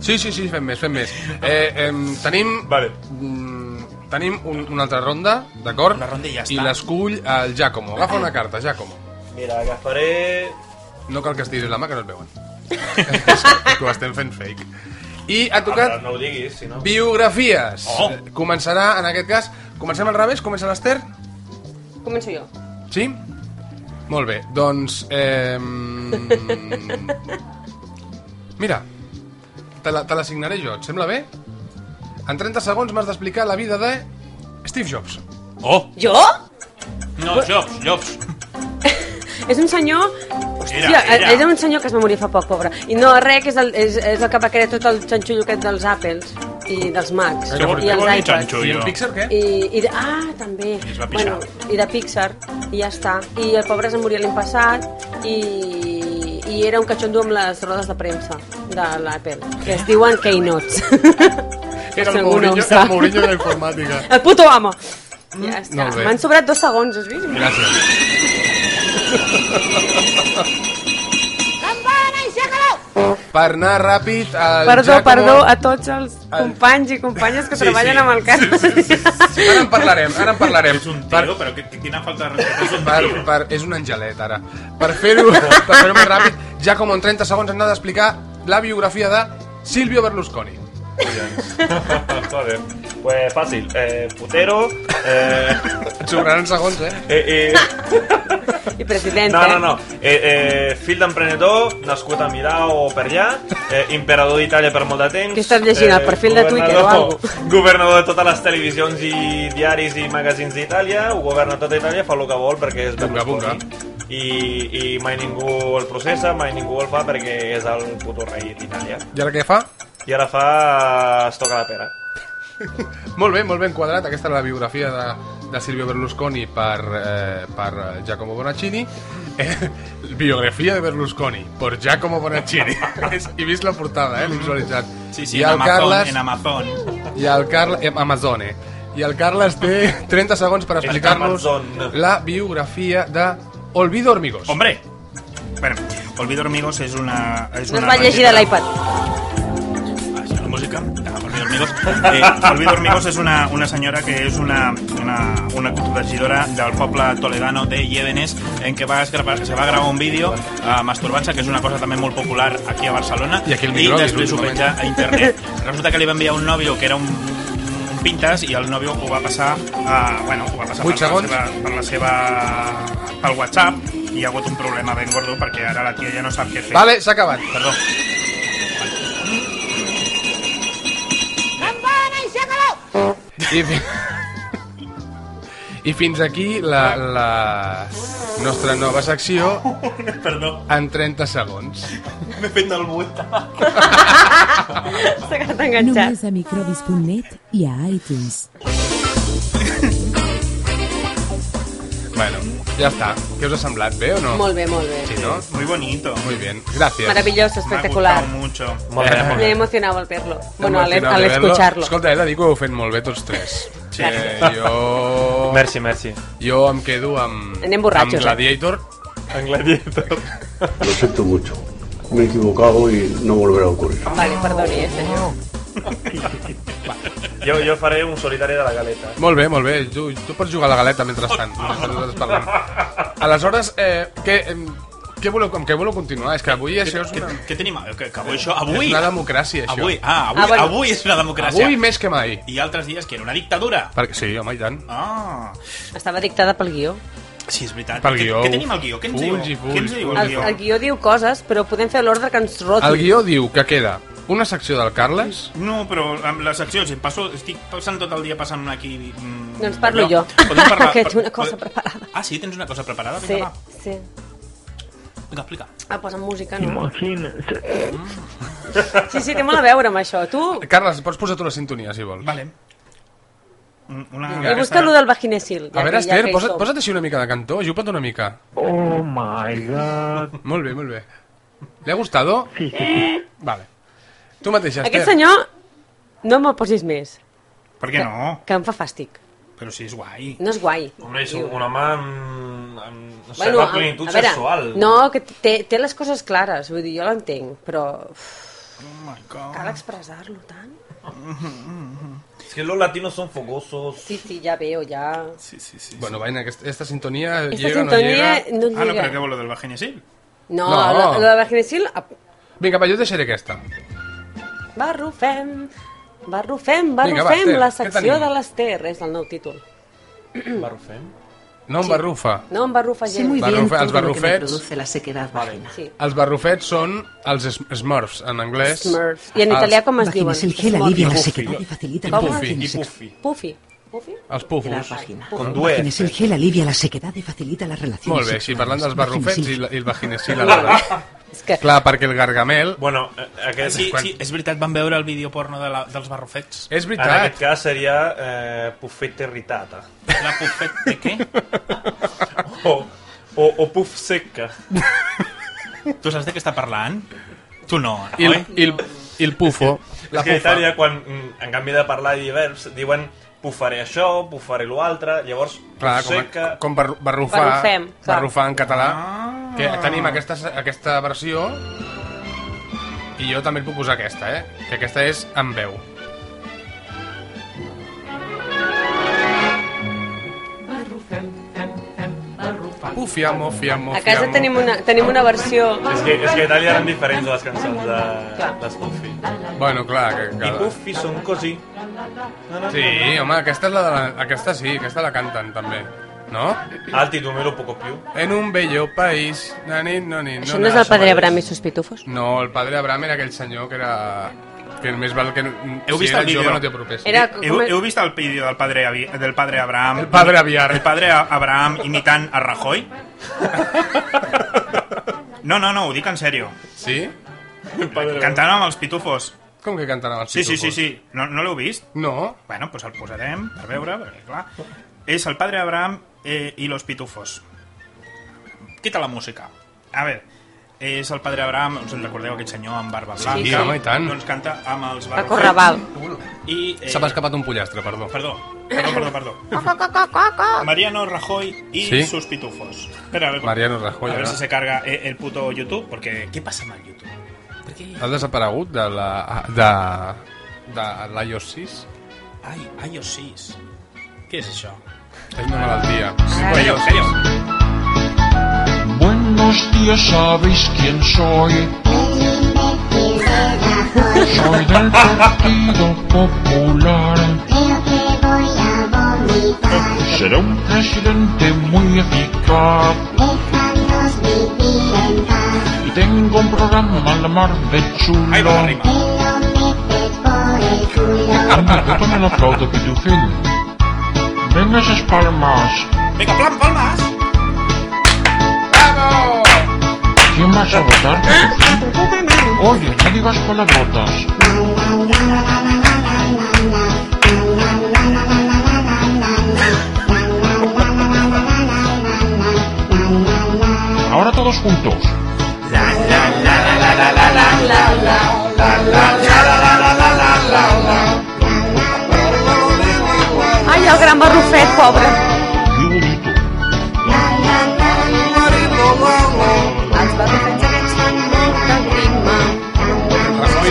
Speaker 1: Sí, sí, sí, fem més, fem més. Eh, eh, tenim...
Speaker 4: Vale.
Speaker 1: Mm, tenim un, una altra ronda, d'acord?
Speaker 2: Una ronda i ja
Speaker 1: I
Speaker 2: està.
Speaker 1: l'escull al Giacomo. Agafa una carta, Giacomo.
Speaker 4: Mira, agafaré...
Speaker 1: No cal que estiguis la mà, que no et veuen. que ho estem fent fake. I ha tocat
Speaker 4: Tocat... Ah, No ho diguis, si no...
Speaker 1: biografies.
Speaker 9: Oh.
Speaker 1: Eh, Començarà, en aquest cas... Comencem al revés? Comença l'Ester?
Speaker 3: Començo jo.
Speaker 1: Sí? Molt bé, doncs... Eh... Mira, te la- te l'assignaré jo, et sembla bé? En 30 segons m'has d'explicar la vida de Steve Jobs.
Speaker 9: Oh,
Speaker 3: Jo?
Speaker 9: no, Jobs, Jobs.
Speaker 3: És un senyor...
Speaker 9: Era,
Speaker 3: Hòstia,
Speaker 9: era.
Speaker 3: és un senyor que es va morir fa poc, pobre. I no, res, que és el, és, és el que va crear tot el xanxullo aquest dels Apples i dels Macs
Speaker 9: Què vol-
Speaker 3: i
Speaker 9: què vol
Speaker 3: els
Speaker 9: dir
Speaker 3: iPads.
Speaker 9: xanxullo?
Speaker 1: I en Pixar què?
Speaker 3: I, i de, ah, també.
Speaker 9: es va pixar.
Speaker 3: i de Pixar, i ja està. I el pobre es moria l'any passat i, i era un catxondo amb les rodes de premsa de l'Apple, que es diuen Keynotes. Si
Speaker 1: Era el
Speaker 3: algú no
Speaker 1: Mourinho,
Speaker 3: ho sap.
Speaker 1: el Mourinho de la informàtica.
Speaker 3: El puto amo! Ja està.
Speaker 1: molt bé.
Speaker 3: M'han sobrat dos segons, has vist?
Speaker 1: Gràcies. Per anar ràpid al
Speaker 3: Perdó,
Speaker 1: Giacomo...
Speaker 3: perdó a tots els
Speaker 1: El-
Speaker 3: companys i companyes que
Speaker 9: Sí,
Speaker 3: treballen
Speaker 9: sí.
Speaker 3: amb el cas.
Speaker 1: Sí, ara en parlarem, ara en parlarem.
Speaker 9: És un
Speaker 1: Per-
Speaker 9: tio, però que, que quina falta de
Speaker 1: per,
Speaker 9: respecte.
Speaker 1: per, és un angelet, ara. Per fer-ho per fer més ràpid, ja com en 30 segons hem d'explicar la biografia de Silvio Berlusconi.
Speaker 4: Joder. Pues fàcil. Eh, putero... Eh,
Speaker 1: Et sobraran segons, eh?
Speaker 4: eh, eh,
Speaker 3: I president,
Speaker 4: no, no,
Speaker 3: eh?
Speaker 4: no. Eh, eh, fill d'emprenedor, nascut a Milà o per allà, eh, imperador d'Itàlia per molt de temps... eh,
Speaker 3: Què estàs llegint, el perfil de Twitter o
Speaker 4: governador-
Speaker 3: algo?
Speaker 4: Governador de totes les televisions i diaris i magazins d'Itàlia, ho governa tota Itàlia, fa el que vol perquè és
Speaker 1: Bunga, bunga.
Speaker 4: Berlusconi. I, I mai ningú el processa, mai ningú el fa perquè és el puto rei d'Itàlia.
Speaker 1: I ara què fa?
Speaker 4: I ara fa... es toca la pera.
Speaker 1: Molt bé, molt ben quadrat. Aquesta era la biografia de, de Silvio Berlusconi per, eh, per eh, Giacomo Bonaccini. Eh, biografia de Berlusconi per Giacomo Bonaccini. És- He vist la portada, eh? L'he visualitzat.
Speaker 9: Sí, sí,
Speaker 1: I
Speaker 9: en
Speaker 1: el
Speaker 9: Amazon,
Speaker 1: Carles...
Speaker 9: en Amazon.
Speaker 1: I el Carles... Eh, Amazone. I el Carles té 30 segons per explicar-nos
Speaker 4: Amazon.
Speaker 1: la biografia de Olvido Hormigos.
Speaker 9: Hombre,
Speaker 2: Bueno, Olvido Hormigos és una... És
Speaker 3: No
Speaker 2: una
Speaker 3: es va llegir de
Speaker 2: revista-
Speaker 3: l'iPad.
Speaker 9: això la música. Ah, per mi, amigos.
Speaker 2: Eh, Olvido Hormigos és una, una senyora que és una, una, una corregidora del poble toledano de Llévenes en què va es gravar, se va gravar un vídeo eh, masturbant-se, que és una cosa també molt popular aquí a Barcelona
Speaker 1: I aquí el
Speaker 2: i
Speaker 1: microbi,
Speaker 2: després ho
Speaker 1: últimament.
Speaker 2: penja a internet. Resulta que li va enviar un nòvio que era un, un pintes i el nòvio ho va passar, eh, bueno, ho va passar
Speaker 1: Vuit
Speaker 2: per la,
Speaker 1: segons.
Speaker 2: seva, per la seva pel WhatsApp i hi ha hagut un problema ben gordo perquè ara la tia ja no sap què fer.
Speaker 1: Vale, s'ha acabat.
Speaker 2: Perdó.
Speaker 1: I, fi... I fins aquí la, la nostra nova secció
Speaker 9: Perdó,
Speaker 1: en 30 segons.
Speaker 9: m'he fet del buit.
Speaker 3: S'ha quedat enganxat.
Speaker 5: Només a microbis.net i a iTunes.
Speaker 1: Bueno, ja està. Què us ha semblat? Bé o no?
Speaker 3: Molt bé, molt bé.
Speaker 1: Sí, no?
Speaker 2: Muy bonito.
Speaker 1: Muy bien. Gracias.
Speaker 3: Maravilloso,
Speaker 2: Me ha
Speaker 3: espectacular.
Speaker 2: gustado mucho.
Speaker 4: Molt bé, molt
Speaker 3: Me he
Speaker 4: bé.
Speaker 3: emocionado al verlo. Bueno,
Speaker 1: Hem
Speaker 3: al,
Speaker 1: emocionat
Speaker 3: al
Speaker 1: de verlo.
Speaker 3: escucharlo.
Speaker 1: Escolta, he de dir que ho heu fet molt bé tots tres. Sí. Eh, jo...
Speaker 4: Merci, merci.
Speaker 1: Jo em quedo amb...
Speaker 3: Anem borratxos, eh?
Speaker 1: Amb Gladiator.
Speaker 4: En gladiator.
Speaker 7: Lo siento mucho. Me he equivocado y no volverá a ocurrir.
Speaker 3: Vale, perdoni, eh, senyor.
Speaker 4: Jo, jo faré un solitari de la galeta.
Speaker 1: Molt bé, molt bé. Tu, tu pots jugar a la galeta mentrestant. mentre nosaltres parlem. Aleshores, eh, què, em, què voleu, amb què voleu continuar? És que avui això és
Speaker 9: Què,
Speaker 1: una,
Speaker 9: què tenim? Que, que avui això... Avui!
Speaker 1: és una democràcia, això.
Speaker 9: Avui, ah, avui,
Speaker 3: Ah, bueno.
Speaker 9: avui és una democràcia.
Speaker 1: avui més que mai.
Speaker 9: I altres dies que era una dictadura.
Speaker 1: Perquè, sí, home, i tant.
Speaker 9: Ah,
Speaker 3: Estava dictada pel guió.
Speaker 9: sí, és veritat.
Speaker 1: Pel guió.
Speaker 9: Què, què tenim al guió? Què ens
Speaker 1: Fulls i
Speaker 9: diu?
Speaker 1: fulls,
Speaker 9: Què ens diu
Speaker 1: fulls.
Speaker 9: el
Speaker 3: El,
Speaker 9: guió?
Speaker 3: el guió diu coses, però podem fer l'ordre que ens roti.
Speaker 1: El guió diu que queda una secció del Carles...
Speaker 2: No, però amb les seccions, em passo, estic passant tot el dia passant una aquí... Mm,
Speaker 3: Doncs parlo jo,
Speaker 2: Podem parlar,
Speaker 3: que tinc una
Speaker 2: po-
Speaker 3: cosa preparada.
Speaker 9: Ah, sí? Tens una cosa preparada?
Speaker 3: Sí,
Speaker 9: Vinga, va.
Speaker 3: sí.
Speaker 9: Vinga, explica.
Speaker 3: Ah, posa música, no?
Speaker 6: Imagínense.
Speaker 3: Sí, sí, té molt a veure amb això. Tu,
Speaker 1: Carles, pots posar tu la sintonia, si vols.
Speaker 2: Vale.
Speaker 9: Mm,
Speaker 2: Un- Una...
Speaker 3: i busca allò del vaginesil.
Speaker 1: A
Speaker 3: ja que-
Speaker 1: veure,
Speaker 3: ja
Speaker 1: Esther,
Speaker 3: que hi
Speaker 1: posa't,
Speaker 3: som.
Speaker 1: posa't així una mica de cantó, jupa't una mica.
Speaker 6: Oh my god.
Speaker 1: Molt bé, molt bé. Li ha gustado?
Speaker 6: Sí, sí, sí.
Speaker 1: Vale. Tu mateixa, Esther.
Speaker 3: Aquest senyor, no me'l posis més,
Speaker 2: Per què no?
Speaker 3: que em fa fàstic.
Speaker 2: Però si és guai.
Speaker 3: No és guai.
Speaker 4: Home, és un home amb... amb mm, no sé,
Speaker 3: Bueno,
Speaker 4: bueno,
Speaker 3: a-
Speaker 4: amb plenitud
Speaker 3: a veure,
Speaker 4: sexual.
Speaker 3: No, que té, té les coses clares, vull dir, jo l'entenc, però uf,
Speaker 2: Oh my god.
Speaker 3: cal expressar-lo tant.
Speaker 4: És que los latinos son fogosos.
Speaker 3: Sí, sí, ja veo, ja...
Speaker 2: Sí, sí, sí.
Speaker 1: Bueno, vaina, aquesta, esta sintonia
Speaker 3: Aquesta
Speaker 1: llega o no
Speaker 3: sintonia
Speaker 1: llega.
Speaker 3: no
Speaker 2: Ah, no,
Speaker 3: lliga.
Speaker 2: però què vol lo del vaginesil?
Speaker 3: no,
Speaker 1: No.
Speaker 3: no, la, la vaginesil... a-
Speaker 1: Vinga, va, jo deixaré aquesta.
Speaker 3: Barrufem, barrufem,
Speaker 1: Vinga, va,
Speaker 3: barrufem,
Speaker 1: Esther,
Speaker 3: la
Speaker 1: què
Speaker 3: secció
Speaker 1: tenim?
Speaker 3: de l'Ester, és el nou títol.
Speaker 4: Barrufem.
Speaker 1: No em barrufa.
Speaker 3: No em barrufa
Speaker 8: Sé
Speaker 3: gent.
Speaker 8: muy bien
Speaker 1: Barrufe- els
Speaker 8: todo lo que me
Speaker 1: barrufets.
Speaker 8: produce la sequedad vagina.
Speaker 3: Sí.
Speaker 1: Els barrufets són els sm- smurfs, en anglès.
Speaker 3: Smurfs. I
Speaker 1: Ah,
Speaker 3: en italià com es diuen?
Speaker 8: Vaginesil gel
Speaker 3: Smurfs.
Speaker 8: alivia la
Speaker 1: Puffy.
Speaker 8: sequedad y facilita
Speaker 1: I
Speaker 8: la
Speaker 1: puffy,
Speaker 8: relación
Speaker 1: i
Speaker 8: sexual.
Speaker 1: puffy.
Speaker 3: Puffy. Puffy?
Speaker 1: Els
Speaker 8: de la
Speaker 1: pufos.
Speaker 8: vagina.
Speaker 4: Con
Speaker 8: Vaginesil
Speaker 4: dueces.
Speaker 8: gel alivia la sequedad y facilita las relaciones
Speaker 1: Molt bé, sí, parlant dels barrufets i, la- i el vaginesil a
Speaker 3: És que...
Speaker 1: Clar, perquè el gargamel...
Speaker 4: Bueno, eh, aquest,
Speaker 2: Sí,
Speaker 4: quan-
Speaker 2: sí, és veritat, van veure el vídeo porno de la, dels barrufets.
Speaker 1: És
Speaker 4: en aquest
Speaker 1: veritat.
Speaker 4: cas seria eh, puffetta irritata.
Speaker 2: La pufet de què?
Speaker 4: O, o, o puff seca.
Speaker 2: Tu saps de què està parlant? Tu no,
Speaker 1: I el,
Speaker 2: oi?
Speaker 1: i el, i el pufo. La
Speaker 4: La és que
Speaker 1: pufa.
Speaker 4: a Itàlia, quan, mm, en canvi de parlar divers, diuen pufaré això, pufaré l'altre, llavors
Speaker 1: Clar,
Speaker 4: puff
Speaker 1: com,
Speaker 4: seca...
Speaker 1: a- com barru- barrufar,
Speaker 3: Barrufem, clar.
Speaker 1: barrufar en català. Que tenim aquesta, aquesta versió i jo també et puc posar aquesta, eh? Que aquesta és amb veu. Ufiamo, fiamo, fiamo.
Speaker 3: A casa tenim una, tenim una versió...
Speaker 4: És que, és que a Itàlia eren diferents les cançons de,
Speaker 3: Clar.
Speaker 4: dels Puffi.
Speaker 1: Bueno, clar, que...
Speaker 4: I
Speaker 1: que...
Speaker 4: Puffi són così.
Speaker 1: Sí, home, aquesta, és la de la... aquesta sí, aquesta la canten també, no?
Speaker 4: Alti, tu me lo poco più.
Speaker 1: En un bello país... Nanin, nanin,
Speaker 3: Això no és el
Speaker 4: això
Speaker 3: padre
Speaker 4: mateix.
Speaker 3: Abraham i sus pitufos?
Speaker 1: No, el padre Abraham era aquell senyor que era... Que més val que... no-
Speaker 2: Heu
Speaker 1: si
Speaker 2: vist
Speaker 1: eres
Speaker 2: el vídeo?
Speaker 1: jove no t'hi apropessis.
Speaker 3: Era
Speaker 2: Heu,
Speaker 3: com...
Speaker 2: heu vist el vídeo del padre, Abi- del padre Abraham?
Speaker 1: El padre Aviar.
Speaker 2: El padre A- Abraham imitant a Rajoy? No, no, no, ho dic en sèrio.
Speaker 1: Sí?
Speaker 2: Cantant amb els pitufos.
Speaker 1: Com que canten els
Speaker 2: Sí, sí, sí,
Speaker 1: pitufos?
Speaker 2: sí. No, no l'heu vist?
Speaker 1: No?
Speaker 2: Bueno, doncs el posarem per veure, perquè clar... És el padre Abraham eh, i los pitufos. Quita la música. A veure, és el padre Abraham, us en recordeu aquest senyor amb barba blanca?
Speaker 1: Sí, home, i tant.
Speaker 2: Doncs canta amb els
Speaker 3: A
Speaker 2: barba
Speaker 3: Corraval.
Speaker 2: I, eh,
Speaker 1: Se m'ha escapat un pollastre, perdó.
Speaker 2: Perdó, perdó, perdó, perdó. Mariano Rajoy y
Speaker 1: Sí.
Speaker 2: sus pitufos. Espera, a ver,
Speaker 1: Mariano Rajoy,
Speaker 2: a ver
Speaker 1: ara.
Speaker 2: si se carga eh, el puto YouTube, porque ¿qué pasa mal YouTube? ¿Por qué?
Speaker 1: Has desaparegut de la... de... de l'iOS 6?
Speaker 2: Ay, iOS 6. ¿Qué es eso?
Speaker 1: És una malaltia.
Speaker 2: Bueno, en serio.
Speaker 6: Buenos días, ¿sabéis quién soy? Soy del Partido Popular. Será un presidente muy eficaz. Y tengo un programa a la mar de
Speaker 2: Ahí
Speaker 6: chulo.
Speaker 2: va la rima.
Speaker 6: Anda, yo también aplaudo, pitufín. Venga esas palmas.
Speaker 2: Venga, plan, palmas.
Speaker 6: ¿Quién vas a votar, pitufín? Oye, no digas palabrotas. Ahora todos juntos.
Speaker 3: Ai, el gran barrufet, pobre.
Speaker 6: Qué bonito.
Speaker 3: Els barrufets aquests fan molta grima.
Speaker 1: Rajoy,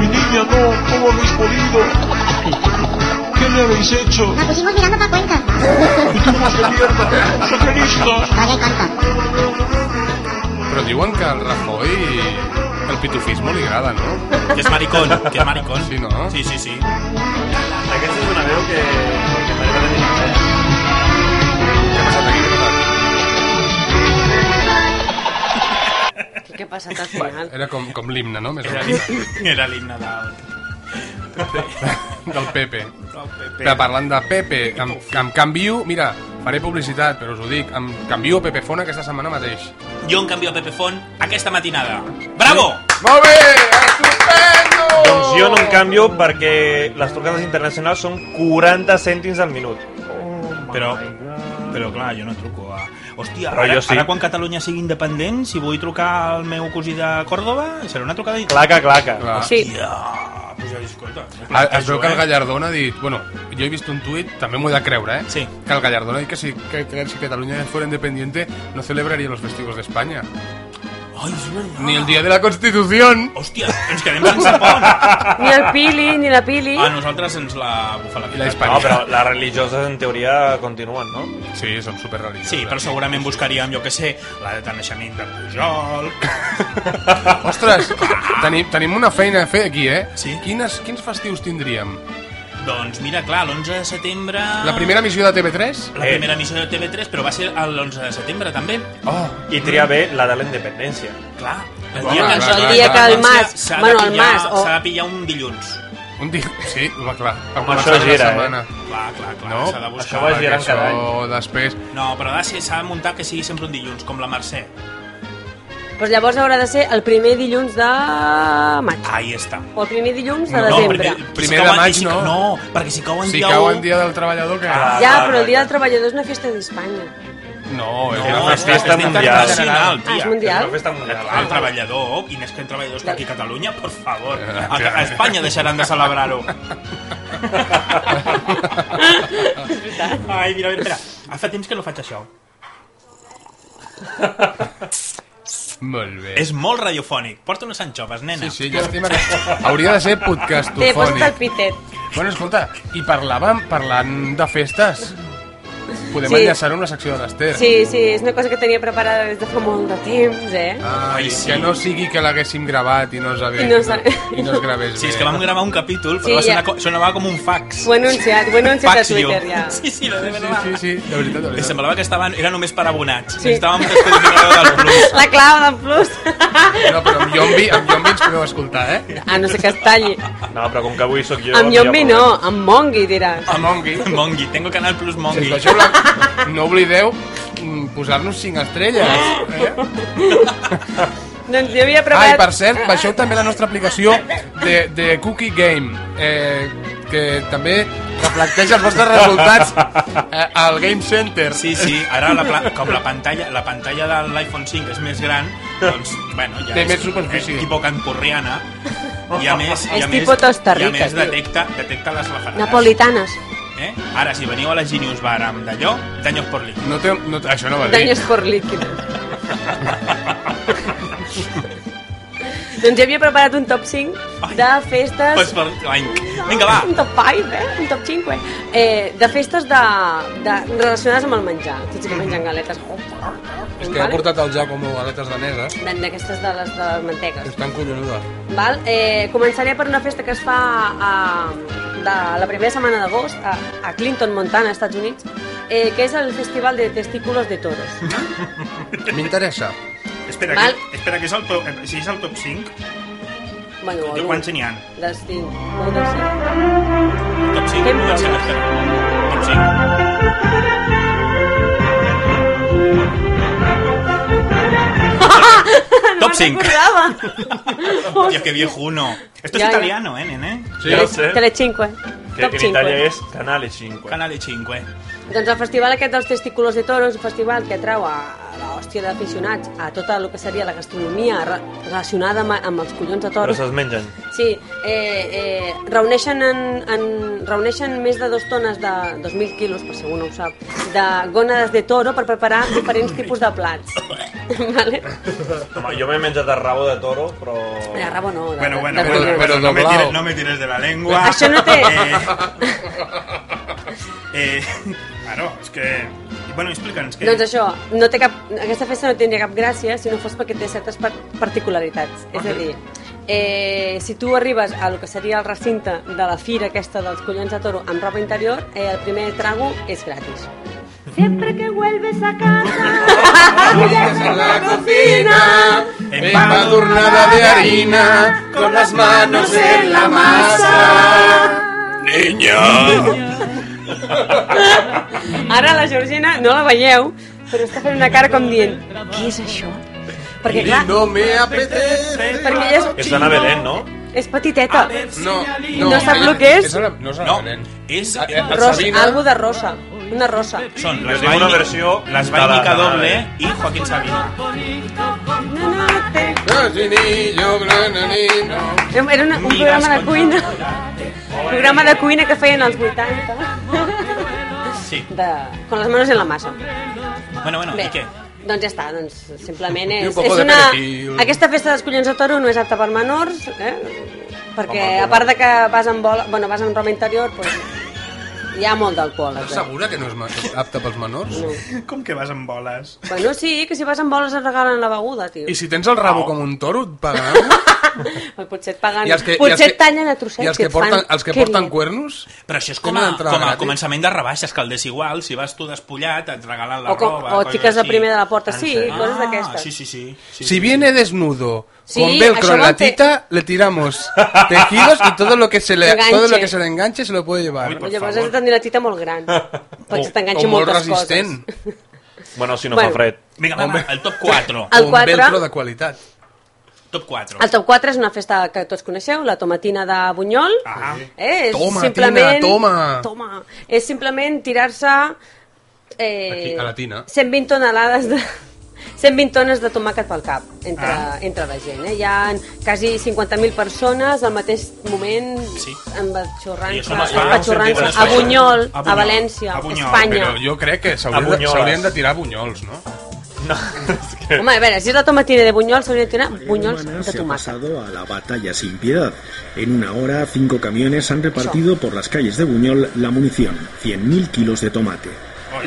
Speaker 6: mi niña no, ¿cómo habéis podido? ¿Qué le habéis hecho?
Speaker 10: La pusimos mirando para Cuenca.
Speaker 1: Però diuen que al Rajoy el pitufisme li agrada, no?
Speaker 2: Que és maricón, que és maricón.
Speaker 1: Sí, no?
Speaker 2: Sí, sí, sí.
Speaker 4: Aquesta és una veu que... que m'agrada tenir, eh?
Speaker 1: Què ha passat aquí? Què ha passat?
Speaker 3: Què ha passat al final?
Speaker 1: Era com, com l'himne, no? Més o
Speaker 2: Era
Speaker 1: menys.
Speaker 2: l'himne- Era l'himne del...
Speaker 1: Del Pepe.
Speaker 2: del PP.
Speaker 1: Però parlant de Pepe, amb, amb Canviu, mira, faré publicitat, però us ho dic, amb Canviu o Pepefona aquesta setmana mateix.
Speaker 2: Jo, en canvi, el Pepe Font, aquesta matinada. Bravo!
Speaker 1: Molt bé! Estupendo!
Speaker 4: Doncs jo no en canvio perquè les trucades internacionals són 40 cèntims al minut.
Speaker 2: Però, però clar, jo no truco a... Hòstia,
Speaker 4: Però
Speaker 2: ara,
Speaker 4: jo sí.
Speaker 2: ara quan Catalunya sigui independent, si vull trucar al meu cosí de Còrdoba, serà una trucada...
Speaker 4: Claca, claca.
Speaker 1: Clar.
Speaker 3: Sí.
Speaker 2: Hòstia, pues ja, escolta,
Speaker 1: Ah,
Speaker 2: no plantejo,
Speaker 1: Es veu que el
Speaker 2: eh?
Speaker 1: Gallardón ha dit... Bueno, jo he vist un tuit, també m'ho he de creure, eh?
Speaker 2: Sí.
Speaker 1: Que el Gallardón ha dit que si, que, que si Catalunya fuera independiente no celebraria los festivos de España.
Speaker 2: Ai, és verdad.
Speaker 1: Ni el Día de la Constitución.
Speaker 2: Hòstia, ens quedem sense pont.
Speaker 3: Ni el Pili, ni la Pili.
Speaker 1: Ah,
Speaker 2: A nosaltres ens la bufa
Speaker 1: I
Speaker 2: la
Speaker 1: la
Speaker 2: vida.
Speaker 1: Hispania.
Speaker 4: No, però les religioses en teoria continuen, no?
Speaker 1: Sí, són eh. superreligiosos.
Speaker 2: Sí, però segurament buscaríem, jo que sé, la data de naixement de Pujol...
Speaker 1: Ostres, tenim, tenim una feina a fer aquí, eh?
Speaker 2: Sí.
Speaker 1: Quines, quins festius tindríem?
Speaker 2: doncs mira, clar, l'11 de setembre...
Speaker 1: La primera missió de TV3?
Speaker 2: La primera missió de TV3, però va ser l'11 de setembre, també.
Speaker 1: Oh,
Speaker 4: I tria bé la de la independència.
Speaker 2: Clar, el
Speaker 1: Home,
Speaker 2: dia que ens
Speaker 1: clar,
Speaker 3: El dia que el Mas...
Speaker 2: S'ha de,
Speaker 3: Bueno, el
Speaker 2: pillar-
Speaker 3: Mas... O...
Speaker 2: s'ha de pillar un dilluns.
Speaker 1: un dia... Sí, va, clar. Per
Speaker 4: Home,
Speaker 1: començar
Speaker 4: això gira,
Speaker 2: Clar, clar, clar,
Speaker 1: No,
Speaker 2: s'ha de buscar...
Speaker 4: això va
Speaker 1: Perquè
Speaker 4: girant
Speaker 1: això
Speaker 4: cada
Speaker 1: després...
Speaker 2: No, però ha de ser- s'ha de muntar que sigui sempre un dilluns, com la Mercè.
Speaker 3: Doncs llavors haurà de ser el primer dilluns de maig.
Speaker 2: Ahí està.
Speaker 3: O el primer dilluns de
Speaker 1: No,
Speaker 3: desembre.
Speaker 2: perquè-
Speaker 1: Primer
Speaker 2: si
Speaker 1: de
Speaker 2: cau en-
Speaker 1: maig,
Speaker 2: si cau-
Speaker 1: no.
Speaker 2: No, perquè si cau en
Speaker 1: Si
Speaker 2: dia
Speaker 1: cau
Speaker 2: 1...
Speaker 1: en Dia del Treballador, què?
Speaker 4: Ah.
Speaker 3: Ja, però el Dia del Treballador no és la festa d'Espanya.
Speaker 1: No, és una
Speaker 4: una
Speaker 2: No, és
Speaker 1: festa...
Speaker 4: festa
Speaker 2: és
Speaker 4: mundial.
Speaker 2: internacional,
Speaker 3: Ah, és
Speaker 2: tia.
Speaker 4: És
Speaker 3: mundial?
Speaker 4: una festa mundial.
Speaker 2: Clar, el treballador, i més que el treballador està aquí a Catalunya, per favor.
Speaker 1: Eh,
Speaker 2: A, a Espanya deixaran de celebrar-ho. Ai, mira, mira, espera. Ah, Fa temps que no faig això.
Speaker 1: Molt bé.
Speaker 2: És molt radiofònic. Porta unes anxoves, nena.
Speaker 1: Sí, sí, llàstima que... Hauria de ser
Speaker 3: Té, posa't el
Speaker 1: podcastofònic.
Speaker 3: pitet.
Speaker 1: Bueno, escolta, i parlàvem parlant de festes. Podem
Speaker 3: Sí.
Speaker 1: enllaçar una secció de l'Ester.
Speaker 3: Sí, sí, és una cosa que tenia preparada des de fa molt de temps, eh?
Speaker 1: Ai,
Speaker 2: Ai, sí.
Speaker 1: Que no sigui que l'haguéssim gravat i no es, hagués,
Speaker 3: I no s'ha-
Speaker 1: i no es gravés
Speaker 2: Sí, és
Speaker 1: bé.
Speaker 2: que vam gravar un capítol, però
Speaker 3: Sí,
Speaker 2: va sonar,
Speaker 3: ja.
Speaker 2: co- sonava com un fax.
Speaker 3: Ho he anunciat, ho he anunciat a
Speaker 2: Faxio.
Speaker 3: Twitter ja.
Speaker 2: Sí, sí, la de
Speaker 1: Sí,
Speaker 2: veritat.
Speaker 1: sí, sí, de veritat, de
Speaker 2: Em
Speaker 1: veritat.
Speaker 2: semblava que estaven, era només per abonats.
Speaker 3: Sí.
Speaker 2: Sí. Necessitàvem un descodificador del plus.
Speaker 3: La clau del plus.
Speaker 1: No, però amb Yombi, amb Yombi ens podeu escoltar, eh?
Speaker 3: Ah, no sé que es talli.
Speaker 4: No, però com que avui sóc jo...
Speaker 3: Amb
Speaker 4: no hi ha
Speaker 3: Yombi no,
Speaker 4: problema.
Speaker 3: amb Mongi diràs.
Speaker 1: Amb Mongi.
Speaker 2: Mongi, tengo canal plus Mongi.
Speaker 1: Això la- No oblideu mm, posar-nos 5 estrelles. Eh?
Speaker 3: Doncs jo havia
Speaker 1: Ah, i per
Speaker 3: preparat...
Speaker 1: cert, baixeu també la nostra aplicació de, de Cookie Game, eh, que també reflecteix els vostres resultats eh, al Game Center.
Speaker 2: Sí, sí, ara la pla- com la pantalla, la pantalla de l'iPhone 5 és més gran, doncs, bueno, ja
Speaker 1: Té
Speaker 2: és
Speaker 1: més superfície.
Speaker 2: És tipo cancorriana. I a més, i
Speaker 3: És
Speaker 2: a més,
Speaker 3: tipo Costa
Speaker 2: i a
Speaker 3: Rica,
Speaker 2: més
Speaker 3: tio.
Speaker 2: detecta, detecta les referades.
Speaker 3: Napolitanes.
Speaker 2: Eh? Ara, si veniu a la Genius Bar amb d'allò, d'anyos por líquid.
Speaker 1: No té, no, té- això no va dir.
Speaker 3: Danyos por líquidos. doncs jo havia preparat un top 5 de festes...
Speaker 2: Pues per... Ai, vinga,
Speaker 3: Un
Speaker 2: va.
Speaker 3: top 5, eh? Un top 5, eh? eh de festes de, de, relacionades amb el menjar. Tots que
Speaker 4: Mhm.
Speaker 3: mengen galetes. Oh,
Speaker 1: És que he portat el Giacomo galetes daneses,
Speaker 3: D'en- D'aquestes de les de les
Speaker 1: que
Speaker 3: mantegues.
Speaker 1: estan collonudes.
Speaker 3: Val? Eh, començaré per una festa que es fa a, de la primera setmana d'agost a, a Clinton, Montana, Estats Units, eh, que és el Festival de Testículos de Toros.
Speaker 1: M'interessa.
Speaker 2: Espera,
Speaker 3: Val.
Speaker 2: que, espera, que és el top, si és el top 5,
Speaker 3: Bueno,
Speaker 2: jo quants n'hi ha?
Speaker 3: Dels cinc, no dels cinc.
Speaker 2: Top 5,
Speaker 3: Fem
Speaker 2: comencem.
Speaker 3: proves.
Speaker 2: espera. Top 5. Top
Speaker 3: me'n
Speaker 2: 5.
Speaker 3: recordava.
Speaker 2: Hostia, qué viejuno. Esto es
Speaker 3: Ya, ya.
Speaker 2: italiano, ¿eh, nene?
Speaker 1: Sí,
Speaker 4: Ja ho
Speaker 1: ja
Speaker 4: sé, que,
Speaker 3: Telecinque. eh? Top eh?
Speaker 4: que en
Speaker 3: 5.
Speaker 4: Itàlia és Canale 5.
Speaker 2: Canale 5, eh?
Speaker 3: Doncs el festival aquest dels testículos de toros, un festival que atrau a a l'hòstia d'aficionats a tota el que seria la gastronomia re- relacionada amb, amb els collons de
Speaker 4: Però
Speaker 3: toros.
Speaker 4: se'ls mengen.
Speaker 3: Sí, eh, eh, reuneixen, en, en, reuneixen més de dos tones de 2.000 quilos, per si algú no ho sap, de gònades de toro per preparar diferents tipus de plats. vale?
Speaker 4: Home, jo m'he menjat el rabo de toro, però...
Speaker 3: De rabo no, de,
Speaker 2: Bueno, bueno,
Speaker 3: de
Speaker 2: bueno,
Speaker 3: collons.
Speaker 1: pero
Speaker 2: bueno, no, me
Speaker 3: Ah,
Speaker 1: doblado.
Speaker 2: tires, no me tires de la lengua.
Speaker 3: Això no té-
Speaker 2: Eh, Eh, claro, és que... i, Bueno, explica'ns què...
Speaker 3: Doncs això, no té cap, aquesta festa no tindria cap gràcia si no fos perquè té certes par- particularitats. És a dir, eh, si tu arribes a lo que seria el recinte de la fira aquesta dels collons de toro amb roba interior, eh, el primer trago és gratis.
Speaker 10: Siempre que vuelves a casa.
Speaker 1: a la cocina, embadurnada de harina, con las manos en la masa. Niña.
Speaker 3: Ara la Georgina no la veieu, però està fent una cara com dient, què és això? Perquè, clar,
Speaker 1: No me apetece.
Speaker 3: perquè ella és,
Speaker 4: És d'anar a Belén, no?
Speaker 3: és petiteta.
Speaker 1: Ah, No,
Speaker 3: No sap lo que és?
Speaker 1: és una, no és una
Speaker 9: No,
Speaker 1: Belén.
Speaker 9: és...
Speaker 11: Ah,
Speaker 1: A- a- a
Speaker 3: Rosa,
Speaker 1: Sabina-
Speaker 3: algo de rosa, una rosa.
Speaker 9: Són
Speaker 4: Jo
Speaker 9: les
Speaker 4: tinc una
Speaker 9: Vainica-
Speaker 4: versió
Speaker 9: Les
Speaker 4: de la-
Speaker 9: Vainica
Speaker 4: de la-
Speaker 9: Doble i Joaquín Sabina.
Speaker 3: No, no, té...
Speaker 1: Rosinillo, grananino.
Speaker 3: Era una, un programa de cuina. Un programa de cuina que feien als 80.
Speaker 9: Sí.
Speaker 3: De, con les manos en la massa.
Speaker 9: Bueno, bueno, i què?
Speaker 3: doncs ja està, doncs simplement
Speaker 1: I un
Speaker 3: és,
Speaker 1: poco
Speaker 3: és
Speaker 1: de
Speaker 3: una...
Speaker 1: perejil.
Speaker 3: Aquesta festa dels collons de toro no és apta per menors, eh? perquè a part de que vas amb, bola, bueno, vas amb roba interior, doncs, hi ha molt d'alcohol.
Speaker 1: Estàs
Speaker 3: eh?
Speaker 1: segura que no és ma- apte pels menors?
Speaker 3: No.
Speaker 2: Com que vas amb boles?
Speaker 3: Bueno, sí, que si vas amb boles et regalen la beguda, tio.
Speaker 1: I si tens el rabo com un toro, et pagaran?
Speaker 3: Pues potser et paguen...
Speaker 1: I els que, i els
Speaker 3: Ah, potser
Speaker 1: que,
Speaker 3: et tallen a trossets.
Speaker 1: I els que
Speaker 3: et
Speaker 1: porten,
Speaker 3: fan...
Speaker 1: els que
Speaker 3: Què
Speaker 1: porten
Speaker 3: bé.
Speaker 1: cuernos?
Speaker 9: Però això és com
Speaker 1: Tenen
Speaker 9: a,
Speaker 1: entrada
Speaker 9: com a
Speaker 1: gratis.
Speaker 9: començament de rebaixes, que el deshigual, si vas tu despullat, et regalen la
Speaker 3: O com-
Speaker 9: roba...
Speaker 3: o
Speaker 9: coses
Speaker 3: xiques de
Speaker 9: així.
Speaker 3: primer de la porta, sí,
Speaker 9: Ah,
Speaker 3: coses d'aquestes.
Speaker 9: Sí, sí, sí. sí.
Speaker 1: Si viene desnudo,
Speaker 3: Sí,
Speaker 1: con velcro
Speaker 3: això
Speaker 1: en la
Speaker 3: van fer-
Speaker 1: tita, le tiramos tejidos y todo lo que se le,
Speaker 3: Enganche.
Speaker 1: todo lo que se le enganche se lo puede llevar.
Speaker 3: Però Llavors has de tenir la tita molt gran. Perquè se
Speaker 1: o
Speaker 3: t'enganxi
Speaker 1: molt
Speaker 3: moltes
Speaker 1: resistent.
Speaker 3: coses.
Speaker 4: Bueno, si no
Speaker 3: Bueno.
Speaker 4: fa fred.
Speaker 9: Vinga, va, va, el top 4.
Speaker 3: El
Speaker 1: o un
Speaker 3: quatre.
Speaker 1: velcro de qualitat.
Speaker 9: Top 4.
Speaker 3: El top 4 és una festa que tots coneixeu, la tomatina de Bunyol.
Speaker 9: Ah.
Speaker 3: eh, és
Speaker 1: Toma,
Speaker 3: simplement...
Speaker 1: Tina, toma.
Speaker 3: Toma. És simplement tirar-se... Eh,
Speaker 1: Aquí, a la tina.
Speaker 3: 120 tonelades de... 120 tones de tomàquet pel cap entre,
Speaker 2: Ah.
Speaker 3: ah. entre la gent. Eh? Hi ha quasi 50.000 persones al mateix moment
Speaker 9: Sí. I
Speaker 3: embatxorrant-se
Speaker 9: això
Speaker 4: no
Speaker 9: no es fa,
Speaker 4: ho sentim,
Speaker 3: embatxorrant-se
Speaker 4: no es fa
Speaker 3: a
Speaker 4: això.
Speaker 3: Bunyol,
Speaker 9: A
Speaker 3: a,
Speaker 9: Bunyol,
Speaker 3: València,
Speaker 9: a Bunyol,
Speaker 3: Espanya.
Speaker 1: Però jo crec que
Speaker 4: A
Speaker 1: s'haurien de,
Speaker 4: bunyoles.
Speaker 1: s'haurien de tirar bunyols, no?
Speaker 4: No, és que...
Speaker 3: Home, a veure, si és la tomatina de Bunyol, s'hauria de tirar bunyols de tomàquet.
Speaker 11: a la batalla sin piedad. En una hora, cinco camiones han repartido por las calles de Buñol la munición, 100.000 kilos de tomate.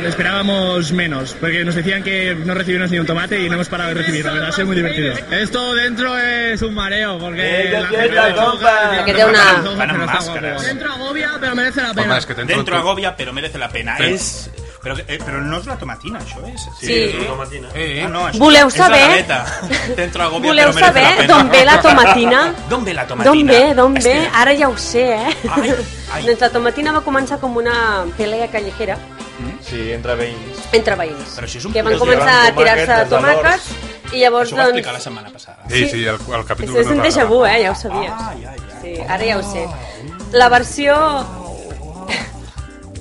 Speaker 11: Esperábamos menos, porque nos decían que no recibimos ni un tomate y no hemos parado de recibir. La verdad, ha sido muy divertido. Esto dentro es un mareo, porque Eh, la gente de Zauja-
Speaker 3: Porque tiene una-
Speaker 11: Zauja
Speaker 9: Van amb
Speaker 11: se nos ha agotado.
Speaker 9: màscares.
Speaker 11: Dentro agobia, pero merece la
Speaker 1: Home,
Speaker 11: pena.
Speaker 1: és que tens
Speaker 9: Dentro
Speaker 1: tu-
Speaker 9: agobia, però merece la pena.
Speaker 1: Sí.
Speaker 9: És... Però, eh, però no és la tomatina, això és.
Speaker 3: Sí.
Speaker 4: és una tomatina.
Speaker 1: Eh, eh.
Speaker 9: Ah, no, això
Speaker 3: Voleu
Speaker 9: és la
Speaker 3: saber-
Speaker 9: galeta. Dentro agobia,
Speaker 3: Voleu
Speaker 9: però merece la
Speaker 3: saber
Speaker 9: pena.
Speaker 3: d'on ve la tomatina?
Speaker 9: D'on ve la tomatina?
Speaker 3: D'on ve, d'on
Speaker 9: És
Speaker 3: ve?
Speaker 9: que-
Speaker 3: Ara ja ho sé, eh?
Speaker 9: Ai, ai.
Speaker 3: doncs la tomatina va començar com una pelea callejera
Speaker 4: Sí, entre veïns.
Speaker 3: entre veïns.
Speaker 9: Però això és un
Speaker 3: que van
Speaker 9: puto
Speaker 3: començar a
Speaker 4: llevant
Speaker 3: tirar-se
Speaker 4: tomàquets,
Speaker 3: tomàquets i llavors,
Speaker 9: Això ho va explicar la
Speaker 3: doncs...
Speaker 9: setmana passada.
Speaker 1: Sí, sí, el, el
Speaker 3: És,
Speaker 1: capítol...
Speaker 3: és un
Speaker 1: no
Speaker 3: déjà vu, eh? Ja ho sabies.
Speaker 9: Ai, ai, ai.
Speaker 3: Sí, ara ja ho sé. La versió...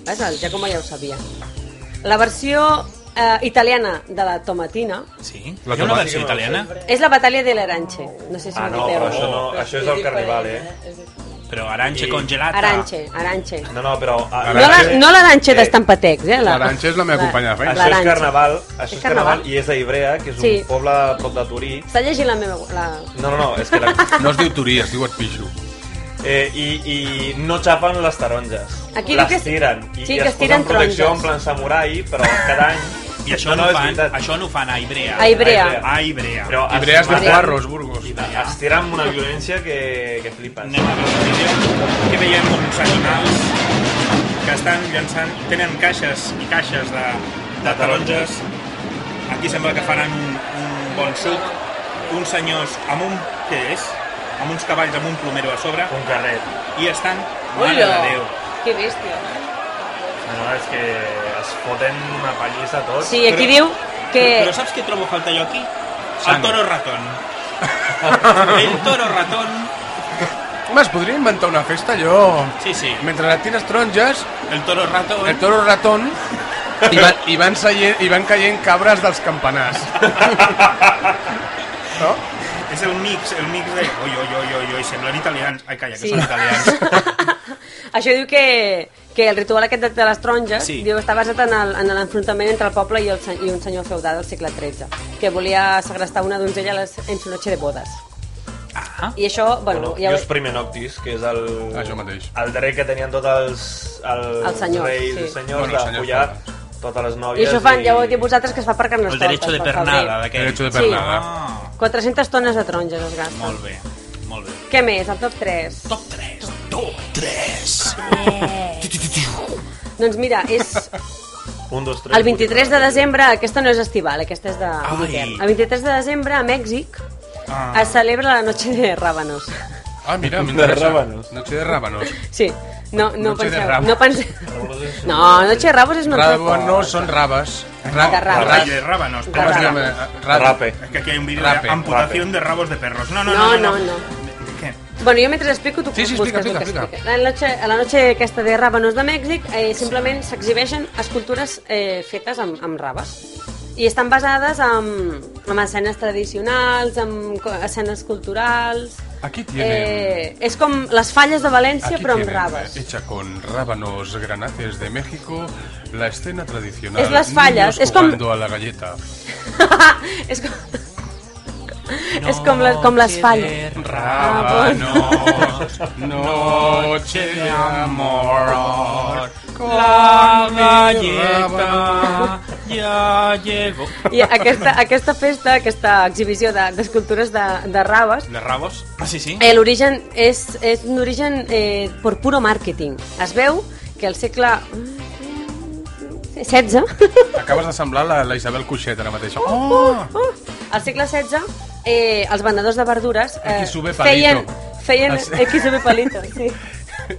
Speaker 3: Ves, el Giacomo ja ho sabia. La versió eh, italiana de la tomatina
Speaker 9: Sí?
Speaker 1: La
Speaker 9: Hi ha una
Speaker 1: tomàtica
Speaker 9: versió italiana?
Speaker 3: és la batalla de l'Aranche. No sé si
Speaker 4: Ah,
Speaker 3: ho
Speaker 4: no,
Speaker 3: noteu.
Speaker 4: però això, no, això és el carnaval, eh?
Speaker 9: Però Aranche congelata.
Speaker 3: Aranche, Aranche.
Speaker 4: No, no, però... a-
Speaker 3: No la- No l'Aranche
Speaker 4: Eh,
Speaker 3: d'Estampatecs, eh? la-
Speaker 1: L'Aranche és la meva companya de feina.
Speaker 4: Això és
Speaker 3: l'Aranche.
Speaker 4: carnaval, això
Speaker 3: És
Speaker 4: és carnaval
Speaker 3: carnaval.
Speaker 4: i és a Ivrea, que és un
Speaker 3: Sí.
Speaker 4: poble a prop de Turí.
Speaker 3: Està llegint la meva... La...
Speaker 4: No, no, no, és que la...
Speaker 1: No es diu Turí, es diu Et Pixo.
Speaker 4: Eh, i, i no xapen les taronges.
Speaker 3: Aquí diu
Speaker 4: les
Speaker 3: que es-
Speaker 4: tiren. I,
Speaker 3: sí,
Speaker 4: i
Speaker 3: que
Speaker 4: es
Speaker 3: es tiren
Speaker 4: posen protecció
Speaker 3: taronges.
Speaker 4: en plan samurai, però cada any...
Speaker 9: I això no,
Speaker 4: no,
Speaker 9: ho
Speaker 4: és
Speaker 9: fan,
Speaker 4: veritat.
Speaker 9: això no ho fan a Ibrea.
Speaker 3: A Ivrea.
Speaker 9: A Ibrea.
Speaker 4: Però es
Speaker 1: Ibrea és de
Speaker 4: maten-
Speaker 1: Juarros, Burgos.
Speaker 4: Es tiren amb una violència que, que flipes.
Speaker 9: Anem a veure el vídeo.
Speaker 2: Aquí veiem uns animals que estan llançant... Tenen caixes i caixes de, de taronges. Aquí sembla que faran un, un bon suc. Uns senyors amb un... Què és? Amb uns cavalls amb un plomero a sobre.
Speaker 4: Un carret.
Speaker 2: I estan... Mare de Déu.
Speaker 3: Que bèstia.
Speaker 4: No, no, és que es foten una pallissa a tots.
Speaker 3: Sí, aquí
Speaker 9: Però-
Speaker 3: diu que...
Speaker 9: Però, però saps què trobo a falta jo aquí?
Speaker 1: Sang.
Speaker 9: El toro ratón. El toro ratón.
Speaker 1: Home, es podria inventar una festa, jo...
Speaker 9: Sí, sí.
Speaker 1: Mentre la tires taronges,
Speaker 9: El toro ratón.
Speaker 1: el toro ratón... I van, i, van seient, I van caient cabres dels campanars. No?
Speaker 2: És el mix, el mix de... Oi, oi, oi, oi, oi, semblen italians. Ai, calla, que
Speaker 3: Sí.
Speaker 2: són italians.
Speaker 3: Això diu que, que el ritual aquest de- de les taronges
Speaker 9: Sí.
Speaker 3: sí. diu, està basat en el- en l'enfrontament entre el poble i, el, se- i un senyor feudal del segle XIII, que volia segrestar una donzella a les- en su noche de bodes.
Speaker 4: Ah.
Speaker 3: I això, bueno, ja ho...
Speaker 4: Just Primer Noctis, que és el...
Speaker 9: Ah,
Speaker 1: Això mateix.
Speaker 4: El dret que tenien tots els... Els,
Speaker 3: Els senyors,
Speaker 4: reis
Speaker 3: sí.
Speaker 4: i senyors
Speaker 1: Bueno,
Speaker 4: de
Speaker 1: senyors,
Speaker 4: follar totes les
Speaker 3: I
Speaker 4: nòvies.
Speaker 3: això fan, ja ho heu dit vosaltres, que es fa per
Speaker 4: El
Speaker 3: carnestoltes.
Speaker 4: derecho de
Speaker 3: per febrer.
Speaker 4: pernada, d'aquell.
Speaker 1: Derecho de
Speaker 3: Sí.
Speaker 1: pernada.
Speaker 3: 400 tones de taronges es gasten.
Speaker 9: Molt bé, molt bé.
Speaker 3: Què més? El top 3. Top
Speaker 9: 3. Top 3.
Speaker 3: Doncs mira, és
Speaker 4: Un, dos, tres.
Speaker 3: el 23 de desembre, aquesta no és estival, aquesta és de d'hivern. El 23 de desembre a Mèxic
Speaker 1: Ah.
Speaker 3: es celebra la Noche de Rábanos.
Speaker 1: Ah, mira,
Speaker 4: De
Speaker 1: m'interessa.
Speaker 4: rábanos.
Speaker 1: Noche de rábanos.
Speaker 3: Sí, no, no
Speaker 1: Noche de
Speaker 3: penseu.
Speaker 1: Rábanos.
Speaker 3: No, pense... no, Noche de Rábanos és un altre
Speaker 1: Rábanos son rabas.
Speaker 3: De rabas.
Speaker 9: De rábanos,
Speaker 1: ¿Cómo
Speaker 9: pero
Speaker 1: se llama?
Speaker 9: rape.
Speaker 1: Rap.
Speaker 9: Es que aquí hay un vídeo
Speaker 1: Rape,
Speaker 9: de amputación de rabos de perros. No, no,
Speaker 3: No,
Speaker 9: no.
Speaker 3: no, no. Bueno, jo mentre explico, tu
Speaker 1: Sí, sí,
Speaker 3: busques
Speaker 1: explica,
Speaker 3: el que
Speaker 1: explica,
Speaker 3: explica. La noche, a la noche aquesta de ràbanos de Mèxic eh, simplement s'exhibeixen escultures eh, fetes amb, amb raves i estan basades en, en escenes tradicionals, en co- escenes culturals...
Speaker 1: Aquí tienen...
Speaker 3: Eh, és com les falles de València,
Speaker 1: Aquí
Speaker 3: però amb
Speaker 1: tienen,
Speaker 3: raves.
Speaker 1: eh, Hecha con rábanos granates de México, la escena tradicional.
Speaker 3: Es las fallas,
Speaker 1: Niños
Speaker 3: es como-
Speaker 1: jugando a la galleta.
Speaker 3: és com... és com, les, com les falles.
Speaker 1: Rábanos, noche de amor.
Speaker 9: La galleta ya llegó.
Speaker 3: I aquesta, aquesta festa, aquesta exhibició de- d'escultures de, de, de raves
Speaker 9: De rabos? Ah, sí, sí.
Speaker 3: Eh, L'origen és, és un origen eh, per puro màrqueting. Es veu que al segle eh, XVI,
Speaker 1: Acabes de semblar la, la Isabel Cuixet ara mateix. Oh!
Speaker 3: al segle XVI, eh, els vendedors de verdures eh,
Speaker 1: XV palito.
Speaker 3: feien, feien
Speaker 1: Ah, sí.
Speaker 3: XV palito, sí.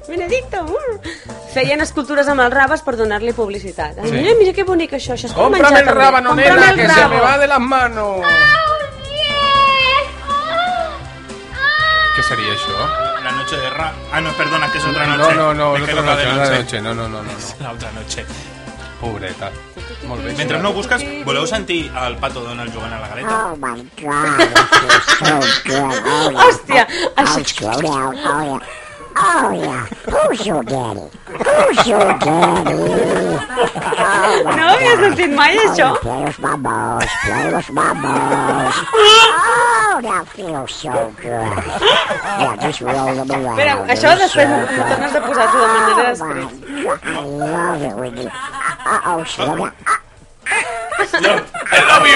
Speaker 3: Benedicto! Uh! Feien escultures amb els raves per donar-li publicitat.
Speaker 1: Sí.
Speaker 3: Sí. Mira, mira que bonic això, això és com
Speaker 1: Oh,
Speaker 3: menjar
Speaker 1: Cómprame el
Speaker 3: també.
Speaker 1: rábano,
Speaker 3: Cómprame
Speaker 1: nena,
Speaker 3: el
Speaker 1: que se
Speaker 3: rabo.
Speaker 1: me va de las manos. Què seria això?
Speaker 9: La noche de rap. Ah, no, perdona, que es otra
Speaker 1: No,
Speaker 9: noche.
Speaker 1: no, no,
Speaker 9: Me
Speaker 1: l'altra
Speaker 9: he equivocado
Speaker 1: noche,
Speaker 9: de
Speaker 1: l'altra
Speaker 9: noche.
Speaker 1: noche, no, no, no, no.
Speaker 9: És l'altra noche.
Speaker 1: Pobreta. Molt bé.
Speaker 9: Mentre no ho busques, voleu sentir el Pato Donald jugant a la
Speaker 1: Ah.
Speaker 9: galeta?
Speaker 10: Oh my god,
Speaker 3: Hòstia, això...
Speaker 10: slow down, oh yeah. Oh yeah, who's your daddy? Who's your daddy?
Speaker 3: No ho havia sentit mai, això?
Speaker 10: Play with my balls, play with my balls. Oh, that feels so good. Yeah, just roll them around.
Speaker 3: Espera, això
Speaker 10: They're
Speaker 3: després
Speaker 10: so
Speaker 3: m'ho tornes a posar tu de manera després.
Speaker 10: good. I love it when you... Uh-oh, slow down.
Speaker 9: I love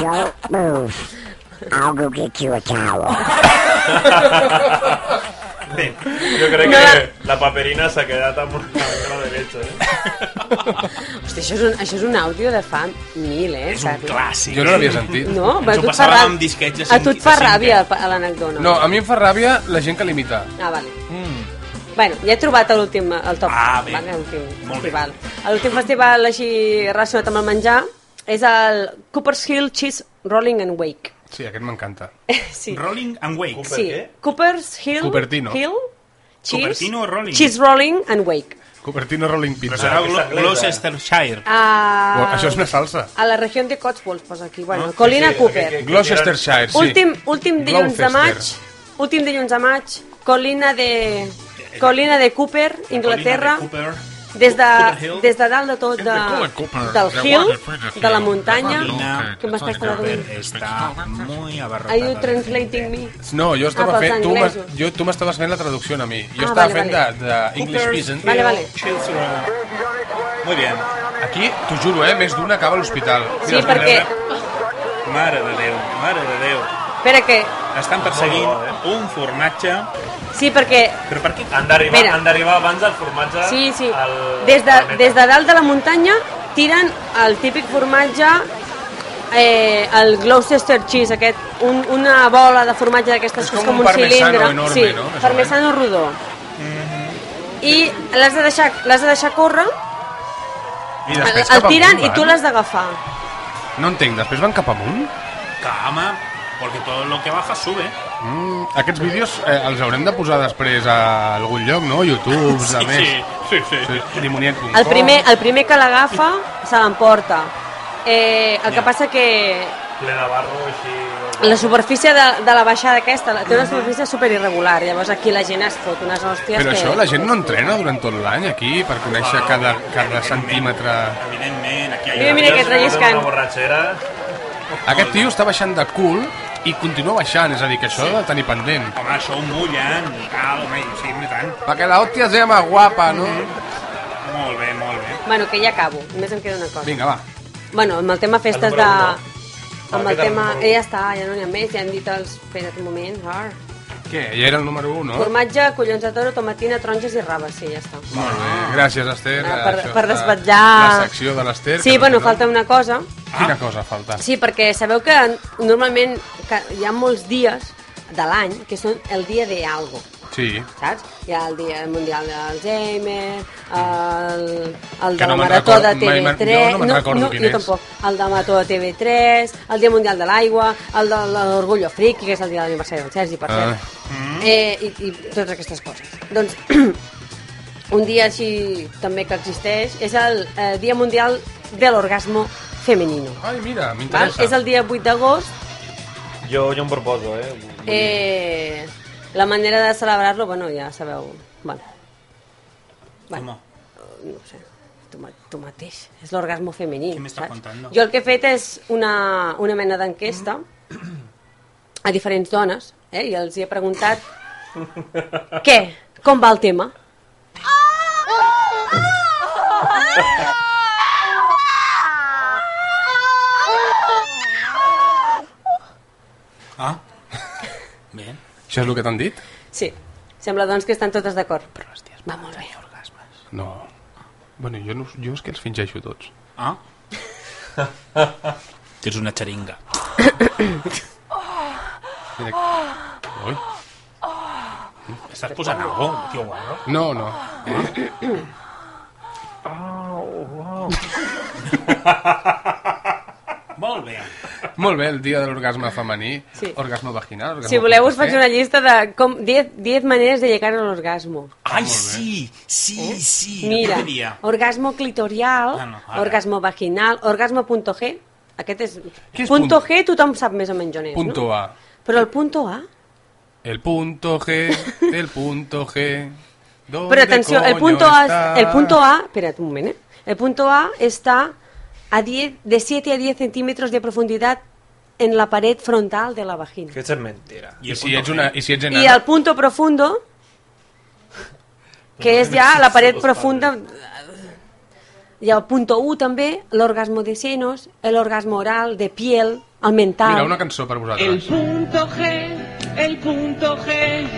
Speaker 10: you! Don't move. I'll go get you a towel.
Speaker 4: Bé, jo crec
Speaker 3: No.
Speaker 4: que la paperina s'ha quedat amb una cara de leche, eh?
Speaker 3: Hosti, això, és un, això és un àudio de fa mil, eh? És un
Speaker 9: clàssic.
Speaker 1: Jo no l'havia sentit.
Speaker 3: No,
Speaker 1: Ens
Speaker 3: però
Speaker 1: ho
Speaker 3: a tu et fa
Speaker 1: passàvem
Speaker 3: ràbia.
Speaker 1: amb disquets de
Speaker 3: a tu
Speaker 1: cinc-
Speaker 3: et fa
Speaker 1: de cinc,
Speaker 3: ràbia a l'anecdona.
Speaker 1: No, a mi em fa ràbia la gent que l'imita.
Speaker 3: Ah, vale. Bueno, ja he trobat l'últim, el top.
Speaker 1: Ah, bé.
Speaker 3: Vale, l'últim
Speaker 1: Molt bé.
Speaker 3: festival. L'últim festival així relacionat amb el menjar és el Cooper's Hill Cheese Rolling and Wake.
Speaker 1: Sí, aquest m'encanta.
Speaker 3: Sí.
Speaker 9: Rolling and Wake. Cooper
Speaker 3: sí.
Speaker 9: què?
Speaker 3: Cooper's Hill,
Speaker 1: Cupertino.
Speaker 3: Hill Cheese,
Speaker 9: Cupertino o Rolling?
Speaker 3: Cheese Rolling and Wake.
Speaker 1: Cupertino Rolling Ah, Pizza.
Speaker 9: Però serà Glo- Gloucestershire.
Speaker 3: Ah,
Speaker 1: Això és una salsa.
Speaker 3: A la regió de Cotswolds posa aquí. Bueno,
Speaker 1: Ah, sí,
Speaker 3: Colina
Speaker 1: sí,
Speaker 3: Cooper.
Speaker 1: que- que- que Gloucestershire, sí.
Speaker 3: Últim, últim dilluns de maig.
Speaker 1: Gloucester.
Speaker 3: Últim dilluns de maig. Colina de... Colina de Cooper, Inglaterra.
Speaker 9: Cooper.
Speaker 3: Des de,
Speaker 9: Cooper Hill.
Speaker 3: des de dalt de tot de, del hill, de la muntanya, que m'estàs traduint.
Speaker 9: Està muy
Speaker 3: Are you
Speaker 9: abarrotada.
Speaker 3: translating me?
Speaker 1: No, jo estava
Speaker 3: Ah, pels
Speaker 1: fent... Tu, m'has-
Speaker 3: anglesos.
Speaker 1: jo, tu m'estaves fent la traducció a mi. Jo
Speaker 3: Ah,
Speaker 1: estava
Speaker 3: vale,
Speaker 1: fent
Speaker 3: vale.
Speaker 1: de, de English Peasant.
Speaker 3: Vale, vale.
Speaker 9: Muy bien.
Speaker 1: Aquí, t'ho juro, eh, més d'una acaba a l'hospital.
Speaker 3: Sí, perquè...
Speaker 9: Mare de Déu, mare de Déu.
Speaker 3: Espera que...
Speaker 9: Estan perseguint un formatge.
Speaker 3: Sí, perquè
Speaker 9: Però per què?
Speaker 4: Han d'arribar
Speaker 3: Mira.
Speaker 4: han d'arribar abans del formatge
Speaker 3: Sí, sí.
Speaker 4: al...
Speaker 3: Des de, des de dalt de la muntanya tiren el típic formatge eh, el Gloucester cheese aquest, un, una bola de formatge d'aquestes que és
Speaker 1: com
Speaker 3: com
Speaker 1: un
Speaker 3: un,
Speaker 1: parmesano
Speaker 3: cilindre
Speaker 1: enorme,
Speaker 3: sí,
Speaker 1: no? Més o Mhm.
Speaker 3: parmesano rodó i l'has de, deixar, l'has de deixar córrer
Speaker 1: I
Speaker 3: el,
Speaker 1: després
Speaker 3: el
Speaker 1: cap eh?
Speaker 3: tiren
Speaker 1: amunt
Speaker 3: i tu
Speaker 1: van.
Speaker 3: l'has d'agafar
Speaker 1: No entenc, després van cap amunt?
Speaker 9: Cama, porque todo lo que baja sube.
Speaker 1: Mm, aquests vídeos eh, els haurem de posar després a algun lloc, no? YouTube,
Speaker 9: Sí,
Speaker 1: a més.
Speaker 9: sí, sí, sí.
Speaker 1: Limonet.com.
Speaker 3: el primer, el primer que l'agafa se l'emporta eh, el que passa que
Speaker 4: Ple de barro, així...
Speaker 3: La superfície de, de la baixada aquesta la- té una superfície super irregular, llavors aquí la gent es fot unes hòsties
Speaker 1: Però
Speaker 3: que...
Speaker 1: això, la gent no entrena durant tot l'any aquí per conèixer cada, cada centímetre...
Speaker 9: Evidentment, aquí
Speaker 3: Mira, mira que rellisquen.
Speaker 4: Una borratxera...
Speaker 1: Aquest tio està baixant de cul i continua baixant, és a dir, que això ha de tenir pendent.
Speaker 2: Home, això ho mullen, cal, home, i sí, home, i tant.
Speaker 1: Perquè la hòstia sea más guapa, no?
Speaker 2: Molt bé, molt bé.
Speaker 3: Bueno, que ja acabo. Només em queda una cosa.
Speaker 1: Vinga, va.
Speaker 3: Bueno, amb el tema festes
Speaker 1: El
Speaker 3: de...
Speaker 1: número
Speaker 3: Amb
Speaker 1: Ah,
Speaker 3: el
Speaker 1: queda el
Speaker 3: tema...
Speaker 1: número
Speaker 3: Eh, ja està, ja no n'hi ha més, ja han dit els... Espera't un moment. Ar.
Speaker 1: Què? Ja era el número 1, no?
Speaker 3: Formatge, collons de toro, tomatina, taronges i raba, sí, ja està.
Speaker 1: Molt bé, gràcies, Esther.
Speaker 3: Ah, per-
Speaker 1: Això
Speaker 3: per
Speaker 1: està-
Speaker 3: desvetllar-
Speaker 1: La secció de l'Esther.
Speaker 3: Sí,
Speaker 1: que
Speaker 3: bueno,
Speaker 1: no-
Speaker 3: falta una cosa.
Speaker 1: Quina cosa falta?
Speaker 3: Sí, perquè sabeu que normalment que hi ha molts dies de l'any que són el dia de algo,
Speaker 1: Sí.
Speaker 3: saps? Hi ha el dia mundial d'Alzheimer, el, el
Speaker 1: Que
Speaker 3: de la
Speaker 1: no me'n
Speaker 3: marató de
Speaker 1: record- mai me'n-
Speaker 3: TV3...
Speaker 1: jo no me'n recordo quin
Speaker 3: jo
Speaker 1: és.
Speaker 3: tampoc. El de marató de TV3, el dia mundial de l'aigua, el de l'orgullo friki, que és el dia de l'aniversari del Sergi, per
Speaker 1: Ah.
Speaker 3: cert. Eh, i, I totes aquestes coses. Doncs un dia així també que existeix és el eh, Dia Mundial de l'Orgasmo Femenino.
Speaker 1: Ai, mira,
Speaker 3: Val?
Speaker 1: m'interessa.
Speaker 3: És el dia 8 d'agost.
Speaker 4: Jo, jo em proposo, eh?
Speaker 3: Eh, la manera de celebrar-lo, bueno, ja sabeu... Bueno, bueno no ho sé, tu, ma- tu mateix. És l'orgasmo femení. Què m'està
Speaker 2: contando?
Speaker 3: Jo el que he fet és una, una mena d'enquesta a diferents dones eh, i els hi he preguntat què, com va el tema?
Speaker 1: Ah.
Speaker 9: Bé.
Speaker 1: Això és el que t'han dit?
Speaker 3: Sí, sembla doncs que estan totes d'acord. Però hòstia, va molt bé.
Speaker 1: No. Bueno, jo, no, jo és que els fingeixo tots.
Speaker 9: Ah. Tens una xeringa.
Speaker 1: Ui.
Speaker 9: Estàs posant algo, tio guarro?
Speaker 1: No, no.
Speaker 9: Molt bé.
Speaker 1: Molt bé, el dia de l'orgasme femení,
Speaker 3: Sí.
Speaker 1: orgasme vaginal... Orgasme
Speaker 3: Si voleu us
Speaker 1: placer.
Speaker 3: faig una llista de com 10 10 maneres de llegar a l'orgasmo.
Speaker 9: Ai, sí,
Speaker 2: Oh,
Speaker 9: sí, sí.
Speaker 3: Mira,
Speaker 9: Jo diria-
Speaker 2: ¿eh?
Speaker 3: orgasmo clitorial,
Speaker 9: No, no, ara.
Speaker 3: orgasmo vaginal, orgasmo.g, aquest és...
Speaker 1: Què és
Speaker 3: punto
Speaker 1: punt-
Speaker 3: G tothom sap més o menys on és,
Speaker 1: Punto A.
Speaker 3: no? Però el punto A...
Speaker 1: El punto G, el punto G... ¿dónde
Speaker 3: Però atenció, el
Speaker 1: coño
Speaker 3: punto A,
Speaker 1: está?
Speaker 3: el punto A, espera't un moment, eh? El punto A està a 10, de 7 a 10 centímetros de profundidad en la pared frontal de la vagina.
Speaker 4: Que ets mentira.
Speaker 1: I, si ets, una, I si ets
Speaker 3: Y
Speaker 1: enana?
Speaker 3: al punto profundo, que es ya la pared profunda, y al punto U también, el orgasmo de senos, el orgasmo oral, de piel, el mental.
Speaker 1: Mira, una cançó per vosaltres.
Speaker 12: punto G, el punto G,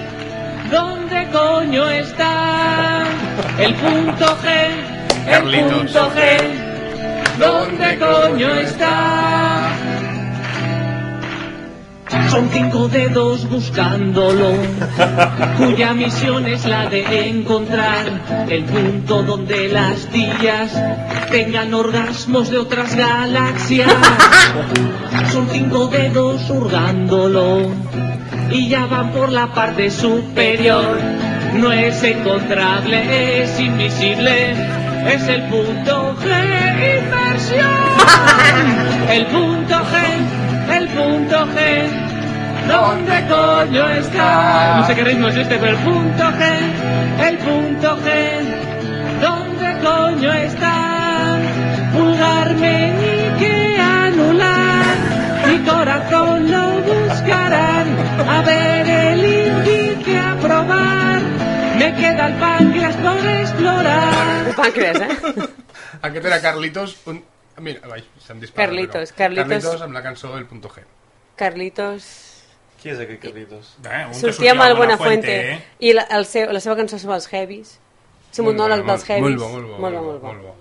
Speaker 12: ¿dónde coño está? El punto G, el
Speaker 1: Carlitos.
Speaker 12: punto G, ¿dónde coño está? Son cinco dedos buscándolo, cuya misión es la de encontrar el punto donde las tías tengan orgasmos de otras galaxias. Son cinco dedos hurgándolo y ya van por la parte superior. No es encontrable, es invisible, es el punto G inversión. El punto G, el punto G, ¿dónde coño está? No sé qué ritmo es este, pero el punto G, el punto G, ¿dónde coño está? Pulgar meñique anular, mi corazón lo buscarán, a ver el índice a probar, me queda el páncreas por explorar.
Speaker 3: El páncreas, ¿eh?
Speaker 1: Aquest era Carlitos... Un... Mira, vai, se'm dispara.
Speaker 3: Carlitos,
Speaker 1: però.
Speaker 3: Carlitos.
Speaker 1: Carlitos amb la cançó del punto G.
Speaker 3: Carlitos
Speaker 4: Qui és aquest Carlitos?
Speaker 9: Eh,
Speaker 3: sortia amb el Buenafuente i la, el seu, la seva cançó sobre els heavies. És un
Speaker 1: ¿eh? Molt
Speaker 3: monòleg
Speaker 1: bo,
Speaker 3: dels
Speaker 1: molt-
Speaker 3: heavies.
Speaker 1: molt bo, molt bo,
Speaker 3: Molt bo,
Speaker 1: molt
Speaker 3: molt
Speaker 1: bo,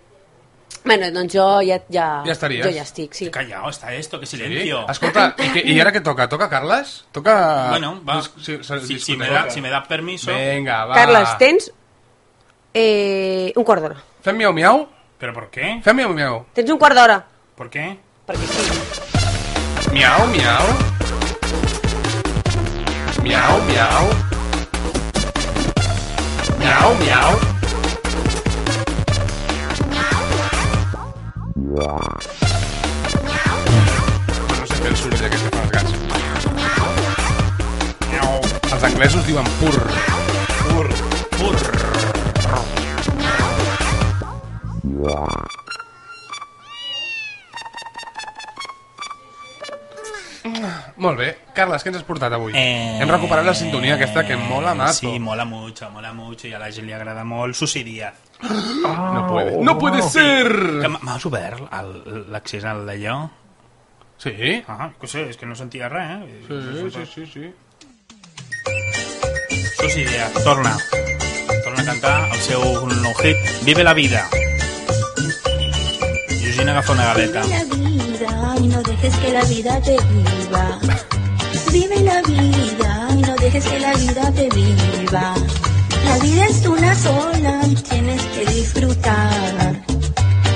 Speaker 3: bo. Bueno, doncs jo ja... Ja,
Speaker 1: Ja estaries?
Speaker 3: Jo ja estic,
Speaker 2: ¿eh?
Speaker 3: sí.
Speaker 9: Callao, está esto, que
Speaker 1: Sí?
Speaker 9: silencio.
Speaker 1: Escolta, i, que, i ara què toca? Toca Carles? Toca...
Speaker 9: Bueno, va.
Speaker 2: Pues,
Speaker 1: Dis- Sí,
Speaker 9: Si, si, me da, si me da permiso.
Speaker 1: Venga, va.
Speaker 3: Carles, tens eh, un quart d'hora.
Speaker 1: Fem miau miau?
Speaker 9: ¿Pero por qué?
Speaker 1: Fem miau miau.
Speaker 3: Tens un quart d'hora.
Speaker 9: ¿Por qué?
Speaker 3: Perquè sí.
Speaker 1: Miau miau. Miau miau. Miau miau. No sé fer el soroll aquest que fan els gats. Miau. Els anglesos diuen purr. Purr. Purr. Molt bé. Carles, què ens has portat avui? Eh... Hem recuperat la sintonia aquesta que mola mato.
Speaker 2: Eh, Sí, mola mucho, mola mucho i a la gent li agrada molt. Susi Díaz.
Speaker 6: Ah,
Speaker 1: No
Speaker 6: oh,
Speaker 1: puede. Oh. ¡No puede ser!
Speaker 2: Que m- M'has obert el- l'accés al d'allò?
Speaker 1: Sí.
Speaker 2: Ah, que sé, és que no sentia res, eh?
Speaker 1: Sí, sí, sí, sí.
Speaker 2: Susi Díaz, eh, torna. Torna a cantar el seu nou hit, Vive la vida. Georgina agafa una galeta.
Speaker 13: Vive la vida y no dejes que la vida te viva. Vive la vida y no dejes que la vida te viva. La vida es una sola y tienes que disfrutar.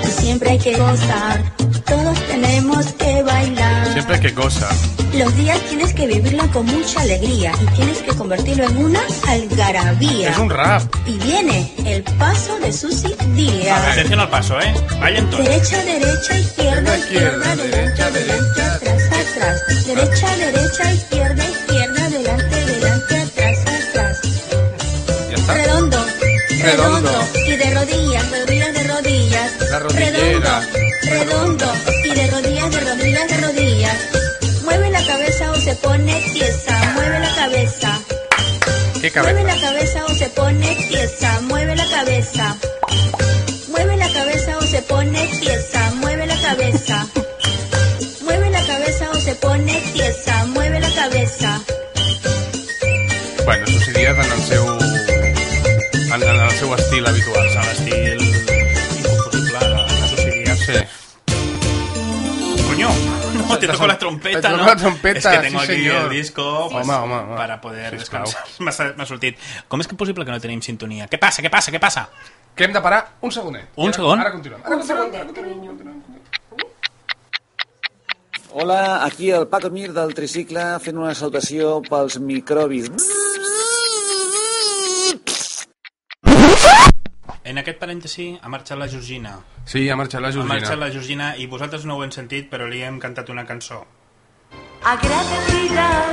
Speaker 13: Y siempre hay que gozar. Todos tenemos que bailar.
Speaker 1: Sempre que goza.
Speaker 13: Los días tienes que vivirla con mucha alegría y tienes que convertirlo en una algarabía.
Speaker 1: És un rap.
Speaker 13: Y viene el paso de Susi Díaz.
Speaker 2: Atención al paso, eh? Ballen tots.
Speaker 13: Derecha, derecha, izquierda, izquierda, derecha, derecha, atrás, atrás. Derecha, derecha, izquierda, izquierda, adelante, adelante, atrás, atrás.
Speaker 1: Ja està.
Speaker 13: Redondo,
Speaker 1: Redondo.
Speaker 13: redondo, y de rodillas, rodillas, de rodillas.
Speaker 1: La rodillera.
Speaker 13: Redondo, y de rodillas, de rodillas, de rodillas. Mueve la cabeza o se pone tiesa, mueve la cabeza.
Speaker 1: Què
Speaker 13: Mueve
Speaker 1: cabeza.
Speaker 13: la cabeza o se pone tiesa, mueve la cabeza. Mueve la cabeza o se pone tiesa, mueve la cabeza. Mueve la cabeza o se pone tiesa, mueve la cabeza.
Speaker 1: Bueno, Susi Díaz en el seu... En, en el seu estil habitual. En
Speaker 2: l'estil inconfusible de, de Susi Díaz.
Speaker 1: Sí.
Speaker 2: Coño, no, te toco la trompeta,
Speaker 1: Te toco
Speaker 2: ¿no?
Speaker 1: la trompeta,
Speaker 2: es que tengo
Speaker 1: sí,
Speaker 2: aquí
Speaker 1: señor.
Speaker 2: el disco pues,
Speaker 1: Home, home, home.
Speaker 2: para poder
Speaker 1: Sisplau.
Speaker 2: descansar. M'ha sa- M'ha sortit. Com és que és possible que no tenim sintonia? Què passa, què passa, què passa?
Speaker 1: Que hem de parar un segonet.
Speaker 2: Un segon?
Speaker 1: Ara continuem. Ara continuem.
Speaker 4: Hola, aquí el Paco Mir del Tricicle fent una salutació pels microbis.
Speaker 2: En aquest parèntesi ha marxat la Georgina.
Speaker 1: Sí, ha marxat la
Speaker 2: Ha marxat
Speaker 1: Georgina.
Speaker 2: la Georgina i vosaltres no ho hem sentit, però li hem cantat una cançó.
Speaker 9: Agradecida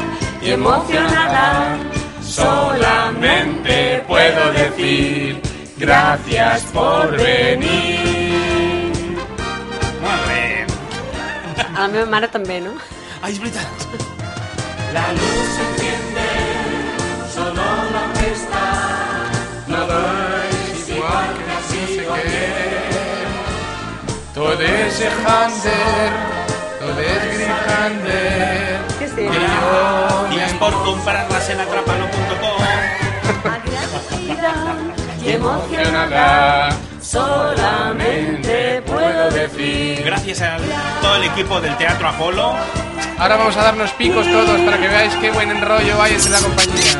Speaker 2: y emocionada,
Speaker 9: solamente puedo decir gracias por venir.
Speaker 2: Molt bé.
Speaker 3: A la meva mare també, no?
Speaker 2: Ai, és veritat.
Speaker 9: La luz se enciende, solo la fiesta. Nada es igual que ha sido ayer.
Speaker 1: Todo es Hander, todo es Grihander.
Speaker 3: Sí, sí.
Speaker 2: Dies por comprarlas en atrapalo.com
Speaker 9: y emocionada. Solamente puedo decir.
Speaker 2: Gracias a todo el equipo del Teatro Apolo.
Speaker 1: Ahora vamos a darnos picos todos para que veáis qué buen enrollo hay entre la compañía.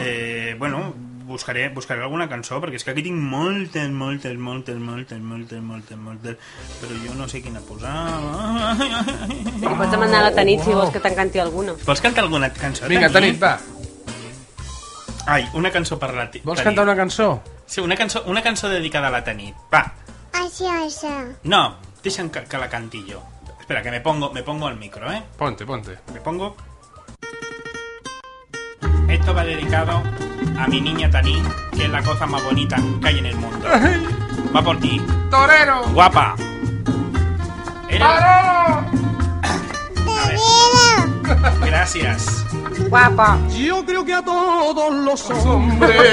Speaker 2: Eh, bueno, buscaré, buscaré alguna cançó, perquè és que aquí tinc moltes, moltes, moltes, moltes, moltes, moltes, moltes, però jo no sé quina posar.
Speaker 3: Li pots demanar a la Tanit si vols que te'n canti alguna.
Speaker 2: Vols cantar alguna cançó?
Speaker 1: Vinga, Tanit, va.
Speaker 2: Ai, una cançó per la Ti-
Speaker 1: Vols
Speaker 2: Tanit.
Speaker 1: cantar una cançó?
Speaker 2: Sí, una cançó, una cançó dedicada a la Tanit. Va,
Speaker 6: Así, así.
Speaker 2: no, deixa'm que, que la canti jo. Espera, que me pongo, me pongo al micro, eh?
Speaker 1: Ponte, ponte.
Speaker 2: Me pongo. Esto va dedicado a mi niña Tanit, que es la cosa más bonita que hay en el mundo. Va por ti.
Speaker 1: ¡Torero!
Speaker 2: Guapa. Gracias.
Speaker 9: Guapa. Yo creo que a todos los hombres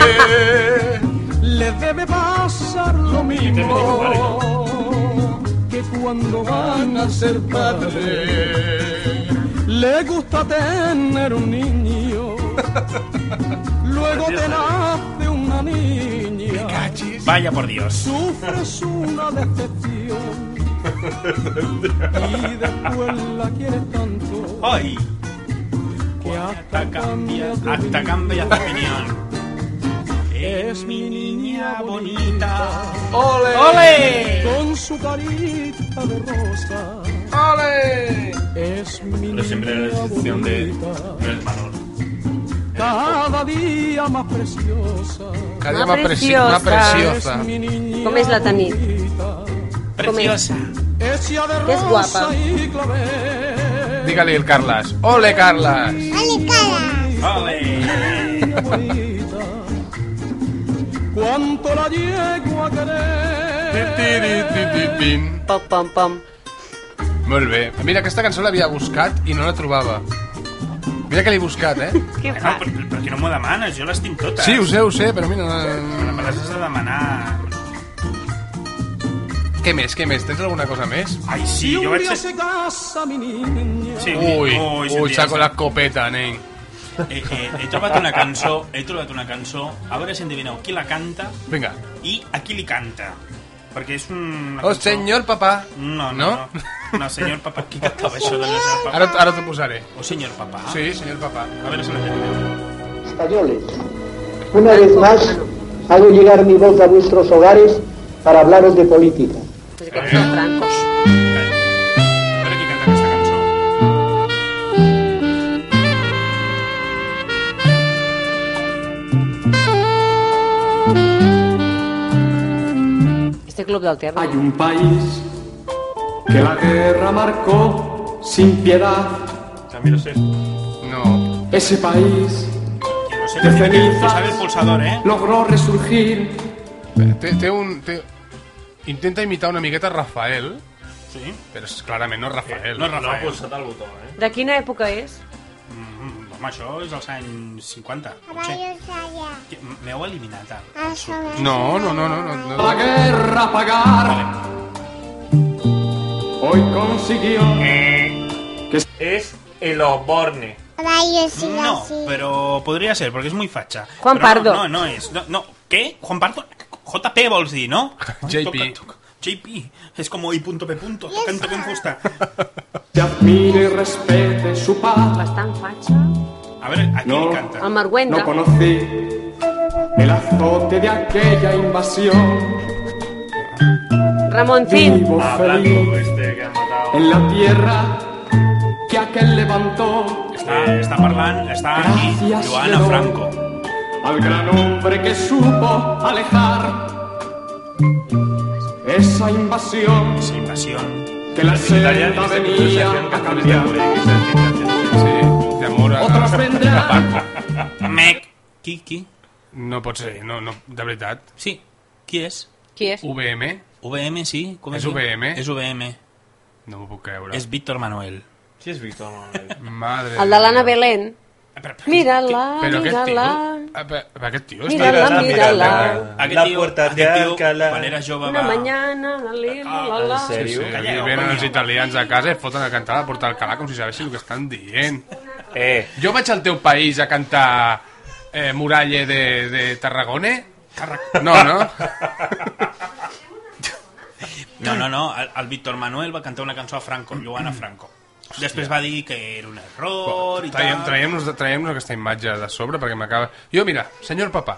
Speaker 9: les debe pasar lo mismo que cuando van a ser padres les gusta tener un niño, luego te nace una niña,
Speaker 2: Vaya por Dios.
Speaker 9: sufres una decepción y después la quieres tanto.
Speaker 2: Ay.
Speaker 9: Que hasta cambia,
Speaker 2: Hasta cambia de opinión.
Speaker 9: Es mi niña bonita.
Speaker 2: ¡Ole! ¡Ole!
Speaker 9: Con su carita de rosa.
Speaker 1: ¡Ole!
Speaker 9: Es mi
Speaker 14: Pero siempre la
Speaker 9: niña
Speaker 14: excepción de
Speaker 9: bonita.
Speaker 14: Manuel Manor.
Speaker 9: Cada día más preciosa.
Speaker 1: Cada día Más más preci- más preciosa. preciosa.
Speaker 9: Es mi niña
Speaker 3: Com és la Tanit?
Speaker 9: Preciosa. Hecha de
Speaker 3: Es guapa.
Speaker 9: rosa y clavel.
Speaker 1: Dígale el Carlas. ¡Ole, Carlas!
Speaker 9: Cuánto la llego a querer.
Speaker 1: Ti, ti, ti, ti, pin.
Speaker 3: Pam, pam, pam.
Speaker 1: Molt bé. Mira, aquesta cançó l'havia buscat i no la trobava. Mira que l'he buscat, eh?
Speaker 3: Què
Speaker 15: fa? Però, però que no m'ho demanes, jo les tinc
Speaker 2: tota.
Speaker 15: totes.
Speaker 1: Sí, ho sé, ho sé, però mira...
Speaker 15: Però me les has de demanar.
Speaker 1: Què més, què més? Tens alguna cosa més?
Speaker 15: Ai, sí, jo vaig ser...
Speaker 9: casa, mi niña.
Speaker 15: Sí,
Speaker 1: Ui,
Speaker 2: ui,
Speaker 1: ui,
Speaker 2: sentia-
Speaker 1: saco la copeta, nen.
Speaker 2: Eh, eh, he trobat una cançó, he trobat una cançó, a veure si endevineu qui la canta
Speaker 1: Vinga.
Speaker 2: i a qui li canta. Perquè és un...
Speaker 1: Oh, senyor papà.
Speaker 2: No, no,
Speaker 1: No?
Speaker 2: no. No, senyor papà, qui cantava això de senyor papà?
Speaker 1: Ara, ara t'ho posaré.
Speaker 2: O Oh, senyor papá.
Speaker 1: Sí, senyor papá.
Speaker 2: A veure si l'endevineu.
Speaker 7: españoles. Una vez más, hago llegar mi voz a vuestros hogares para hablaros de política.
Speaker 3: Este club de alterno.
Speaker 6: Hay un país que la guerra marcó sin piedad.
Speaker 4: También lo sé.
Speaker 1: No.
Speaker 6: Ese país de
Speaker 2: Posar el
Speaker 6: cenizas
Speaker 2: pulsador, eh?
Speaker 6: logró resurgir.
Speaker 1: Té, té un... Té... Intenta imitar una miqueta Rafael. Sí. Però és clarament Eh, no Rafael.
Speaker 2: No, Rafael. No,
Speaker 4: posat el botó, eh?
Speaker 3: De quina època és?
Speaker 2: Mm, home, això és dels anys 50. potser. Que- M'heu eliminat, ah, ara.
Speaker 16: Ah,
Speaker 1: No, no, no, no. no,
Speaker 6: La guerra pagar. Hoy consiguió.
Speaker 4: Es el Osborne.
Speaker 2: No, però podria ser, perquè és muy fatxa.
Speaker 3: Juan
Speaker 2: Però
Speaker 3: Pardo.
Speaker 2: No, no, no és. No, no. Què? Juan Pardo? JP vols dir, no? JP. JP. És com hoy punto P punto. Canto con fusta.
Speaker 6: Te admire y respete su paz.
Speaker 3: Bastant fatxa.
Speaker 2: A veure, aquí
Speaker 6: No.
Speaker 2: li canta.
Speaker 3: El Marguenda.
Speaker 6: No conocí el azote de aquella invasión.
Speaker 3: Ramoncín.
Speaker 6: Vivo feliz
Speaker 4: este
Speaker 6: en la tierra que aquel levantó.
Speaker 2: Està, està parlant, està aquí, Joana
Speaker 6: León,
Speaker 2: Franco.
Speaker 6: Al gran hombre que supo alejar esa invasión.
Speaker 2: Esa invasión.
Speaker 6: Que la senda venía a cambiar.
Speaker 1: Sí, de amor a...
Speaker 6: Otros vendrán.
Speaker 2: Mec. Qui, qui?
Speaker 1: No pot ser, no, no, de veritat.
Speaker 2: Sí. Qui és?
Speaker 3: Qui és?
Speaker 1: VM?
Speaker 2: VM, sí. Com
Speaker 1: És
Speaker 2: es diu?
Speaker 1: VM?
Speaker 2: És VM.
Speaker 1: No m'ho puc creure.
Speaker 2: És Víctor Manuel.
Speaker 4: Qui és Víctor Manuel?
Speaker 1: Madre...
Speaker 3: El de l'Anna Belén. Mira-la,
Speaker 1: Però aquest tio...
Speaker 3: mira-la.
Speaker 1: Ah, pe- Però aquest tio...
Speaker 3: Mírala,
Speaker 1: està-
Speaker 3: mírala.
Speaker 2: Aquest
Speaker 4: La
Speaker 2: tio,
Speaker 4: puerta
Speaker 2: aquest
Speaker 4: de
Speaker 2: tio,
Speaker 4: Alcalá.
Speaker 2: quan era jove,
Speaker 3: Una
Speaker 2: va...
Speaker 3: mañana, la li, la la.
Speaker 1: Sí, sí, aquí venen els italians a casa i foten a cantar a la Porta Alcalà com si sabessin el que estan dient.
Speaker 4: Eh.
Speaker 1: Jo vaig al teu país a cantar eh, Muralle de, de Tarragone? No, no?
Speaker 2: No, no, no, el, el Víctor Manuel va cantar una cançó a Franco, Joana Franco. Després va dir que era un error i
Speaker 1: Traiem-
Speaker 2: tal.
Speaker 1: Traiem-nos traiem aquesta imatge de sobre perquè m'acaba... Jo, mira, senyor papà.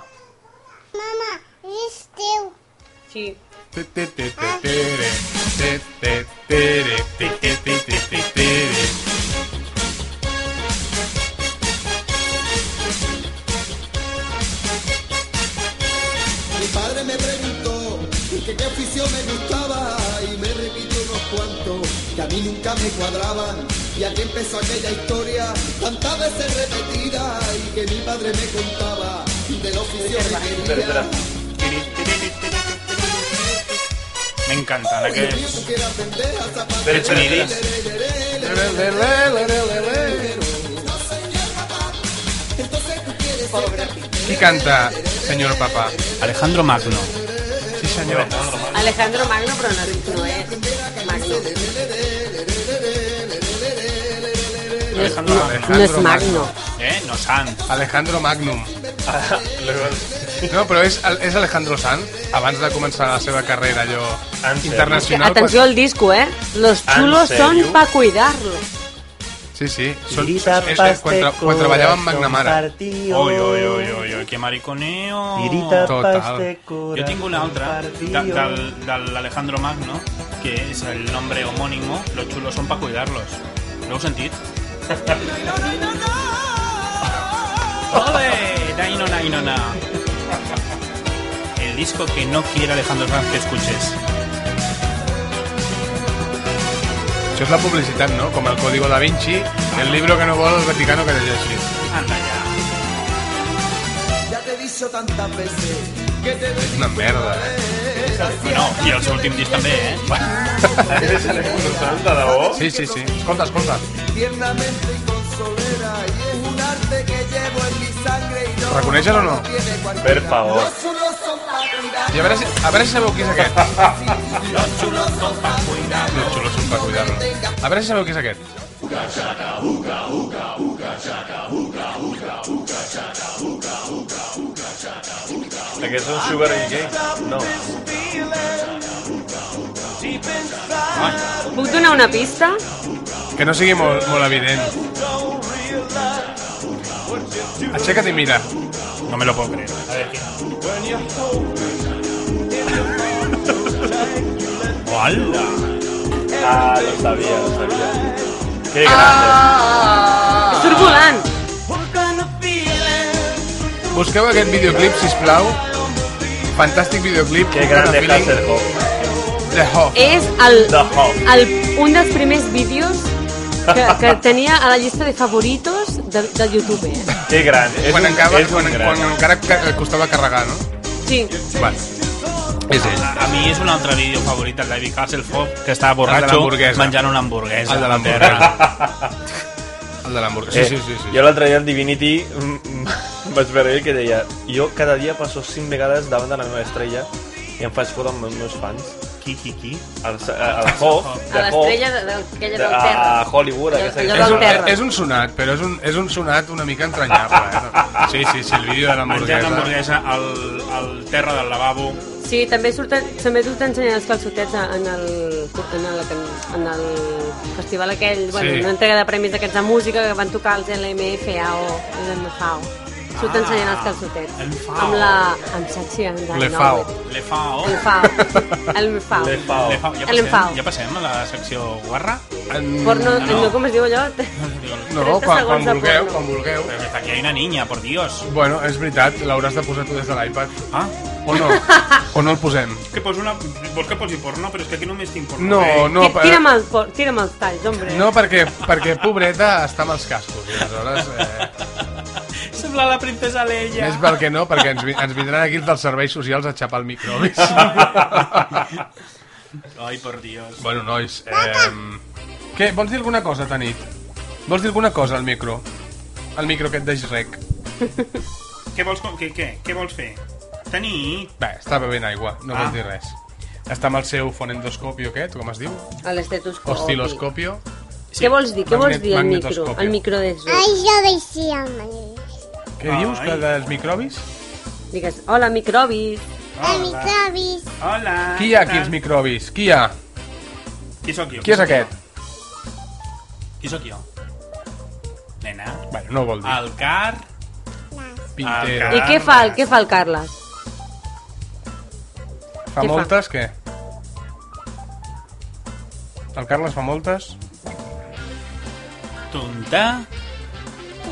Speaker 6: este,
Speaker 9: És teu.
Speaker 3: Sí.
Speaker 1: Te, te, te, te, tere, te, te, tere, te, te, te, te, te, tere.
Speaker 17: Mi padre me preguntó que qué oficio me gustaba y me repitió unos cuantos que a mí nunca me cuadraban. Y aquí empezó aquella historia, tantas veces repetida y que mi padre me contaba del oficio que
Speaker 4: Espera,
Speaker 17: quería.
Speaker 4: espera.
Speaker 2: M'encanten aquests...
Speaker 4: Drets
Speaker 2: Units.
Speaker 1: Qui canta, senyor papà?
Speaker 2: Alejandro Magno.
Speaker 1: Sí, senyor.
Speaker 3: Alejandro Magno, però no, no és Magno.
Speaker 1: No,
Speaker 2: Alejandro Magno.
Speaker 1: no és Magno.
Speaker 2: Eh? No Sant.
Speaker 1: Alejandro Magnum. Ah, No, però és, és Alejandro Sanz, abans de començar la seva carrera allò internacional.
Speaker 3: Atenció al disco, eh? Los
Speaker 1: pues- ¿En
Speaker 3: chulos
Speaker 1: serio?
Speaker 3: son pa' cuidarlos.
Speaker 1: Sí, sí. Són, és, és, quan, tra quan treballava amb McNamara.
Speaker 2: Oi, oi, oi, oi, oi, que mariconeo.
Speaker 1: Tirita Total. pa' este
Speaker 2: Jo tinc una altra, de, del, del Alejandro Magno, que és el nombre homónimo, los chulos son pa' cuidarlos. No heu sentit? Ole, Daino Nainona. El disco que no quiere Alejandro Sanz que escuches.
Speaker 1: Això és la publicitat, no? Com el Código da Vinci, el libro que no vol el Vaticano que llegeixi.
Speaker 17: Ya te he dicho tantas veces que te
Speaker 1: És una merda, eh?
Speaker 17: dejé
Speaker 2: Bueno, i el seu últim disc també, eh?
Speaker 4: És important, de debò?
Speaker 1: Sí, sí, sí. Escolta, escolta.
Speaker 17: Tiernamente y consolera, y es un arte que llevo en mi sangre y no.
Speaker 1: ¿Reconeixes o no?
Speaker 4: Per favor.
Speaker 17: Los chulos son pa' cuidar.
Speaker 1: I a veure si, a veure si sabeu qui és aquest.
Speaker 17: Los chulos son pa' cuidar.
Speaker 1: Los chulos son pa' cuidar-lo. A veure si sabeu qui és aquest.
Speaker 4: Aquest és un Sugar and Cake? No.
Speaker 3: Puc donar una pista?
Speaker 1: Que no sigui molt, molt evident. Aixeca't i mira.
Speaker 2: No me lo puedo creer. A ver, ¡Hola!
Speaker 4: Ah, lo sabía, lo sabía. Qué grande.
Speaker 3: És turbulant.
Speaker 1: Busqueu aquest videoclip, si plau. Fantàstic videoclip.
Speaker 4: Qué grande Hasselhoff.
Speaker 1: The Hoff.
Speaker 3: És el,
Speaker 4: The Hoff.
Speaker 3: el, un dels primers vídeos que, que tenia a la llista de favoritos de, de YouTube. Eh?
Speaker 4: Qué grande. Es
Speaker 1: Quan,
Speaker 4: un,
Speaker 1: encara,
Speaker 4: es un
Speaker 1: quan,
Speaker 4: gran.
Speaker 1: quan encara ca- costava carregar, no?
Speaker 3: Sí.
Speaker 1: Vale. És ell.
Speaker 2: A, a mi és un altre vídeo favorit del David Hasselhoff, que estava
Speaker 1: El de
Speaker 2: borratxo
Speaker 1: l'hamburguesa.
Speaker 2: menjant una hamburguesa.
Speaker 1: El de
Speaker 2: a
Speaker 1: l'hamburguesa. El de l'hamburguesa. Sí, sí, sí. sí.
Speaker 4: Eh, Jo l'altre dia en Divinity mm, mm, vaig veure ell que deia jo cada dia passo 5 vegades davant de la meva estrella i em faig foto amb els meus fans.
Speaker 2: Qui, qui, qui?
Speaker 4: El, el Hoff.
Speaker 3: A l'estrella de- de- aquella del
Speaker 4: A
Speaker 3: terra.
Speaker 4: Hollywood.
Speaker 3: Allò-
Speaker 4: aquesta-
Speaker 3: allò
Speaker 1: És un,
Speaker 3: terra.
Speaker 1: és un sonat, però és un, és un sonat una mica entranyable. Eh? Sí, sí, sí, el vídeo de
Speaker 2: Menjant
Speaker 1: l'hamburguesa.
Speaker 2: hamburguesa al, al terra del lavabo.
Speaker 3: Sí, també surten, també surten ensenyant els calçotets a- en el, en el, en el festival aquell, bueno,
Speaker 1: Sí.
Speaker 3: una entrega de premis d'aquests de música que van tocar els LMFA o els MFAO. Surten
Speaker 1: Ah.
Speaker 3: ensenyant els calçotets.
Speaker 2: MFAO.
Speaker 3: Amb la... amb Sachi and
Speaker 1: Le fao.
Speaker 2: Le fao.
Speaker 3: El FAO. El MFAO.
Speaker 4: Le fao.
Speaker 2: Le fao. Ja
Speaker 3: El enfao.
Speaker 2: passem, ja passem a la secció guarra.
Speaker 1: En...
Speaker 3: Porno,
Speaker 2: No.
Speaker 3: no, com es diu allò?
Speaker 1: No,
Speaker 3: 30
Speaker 1: quan,
Speaker 3: segons
Speaker 1: quan
Speaker 3: de
Speaker 1: vulgueu,
Speaker 3: porno.
Speaker 1: quan vulgueu.
Speaker 2: Però que aquí hi ha una niña, por Dios.
Speaker 1: Bueno, és veritat, l'hauràs de posar tu des de l'iPad.
Speaker 2: Ah,
Speaker 1: O no? O no el posem?
Speaker 2: que poso una... Vols que posi porno? Però és que aquí només tinc porno.
Speaker 1: No, no,
Speaker 3: Ti-
Speaker 1: per-
Speaker 3: Tira'm, el, por- tira'm els talls, hombre.
Speaker 1: no perquè, perquè pobreta està amb els cascos. I aleshores, eh,
Speaker 2: Sembla la princesa Leia.
Speaker 1: més val que no, perquè ens, vi- ens vindran aquí els dels serveis socials a xapar el microbis.
Speaker 2: Ai, por Dios.
Speaker 1: bueno, nois, eh, què, vols dir alguna cosa, Tanit? Vols dir alguna cosa al micro? Al micro aquest de Shrek.
Speaker 2: Què vols, com- què, què, què vols fer? Tenir...
Speaker 1: Bé, està bevent aigua, no ah.
Speaker 2: Ah.
Speaker 1: vol dir res. Està amb el seu fonendoscopio aquest, com es diu?
Speaker 3: A l'estetoscopi.
Speaker 1: Osciloscopio.
Speaker 3: Què vols dir? Què vols
Speaker 1: Magnet-
Speaker 3: dir al micro?
Speaker 1: magnetoscopio.
Speaker 3: Al micro de
Speaker 6: Ai, jo deixia
Speaker 1: Què dius, que dels microbis?
Speaker 3: Digues, hola, microbis.
Speaker 6: Amicabis.
Speaker 2: Hola.
Speaker 1: Qui hi ha aquí, els microbis? Qui hi ha?
Speaker 2: Qui sóc jo?
Speaker 1: Qui és aquest?
Speaker 2: Qui sóc jo? Nena.
Speaker 1: Bueno, no vol dir.
Speaker 2: El car...
Speaker 1: Pintero.
Speaker 3: I què fa, el, què fa el Carles?
Speaker 1: Fa
Speaker 3: Què fa?
Speaker 1: moltes, què? El Carles fa moltes?
Speaker 2: Tonta.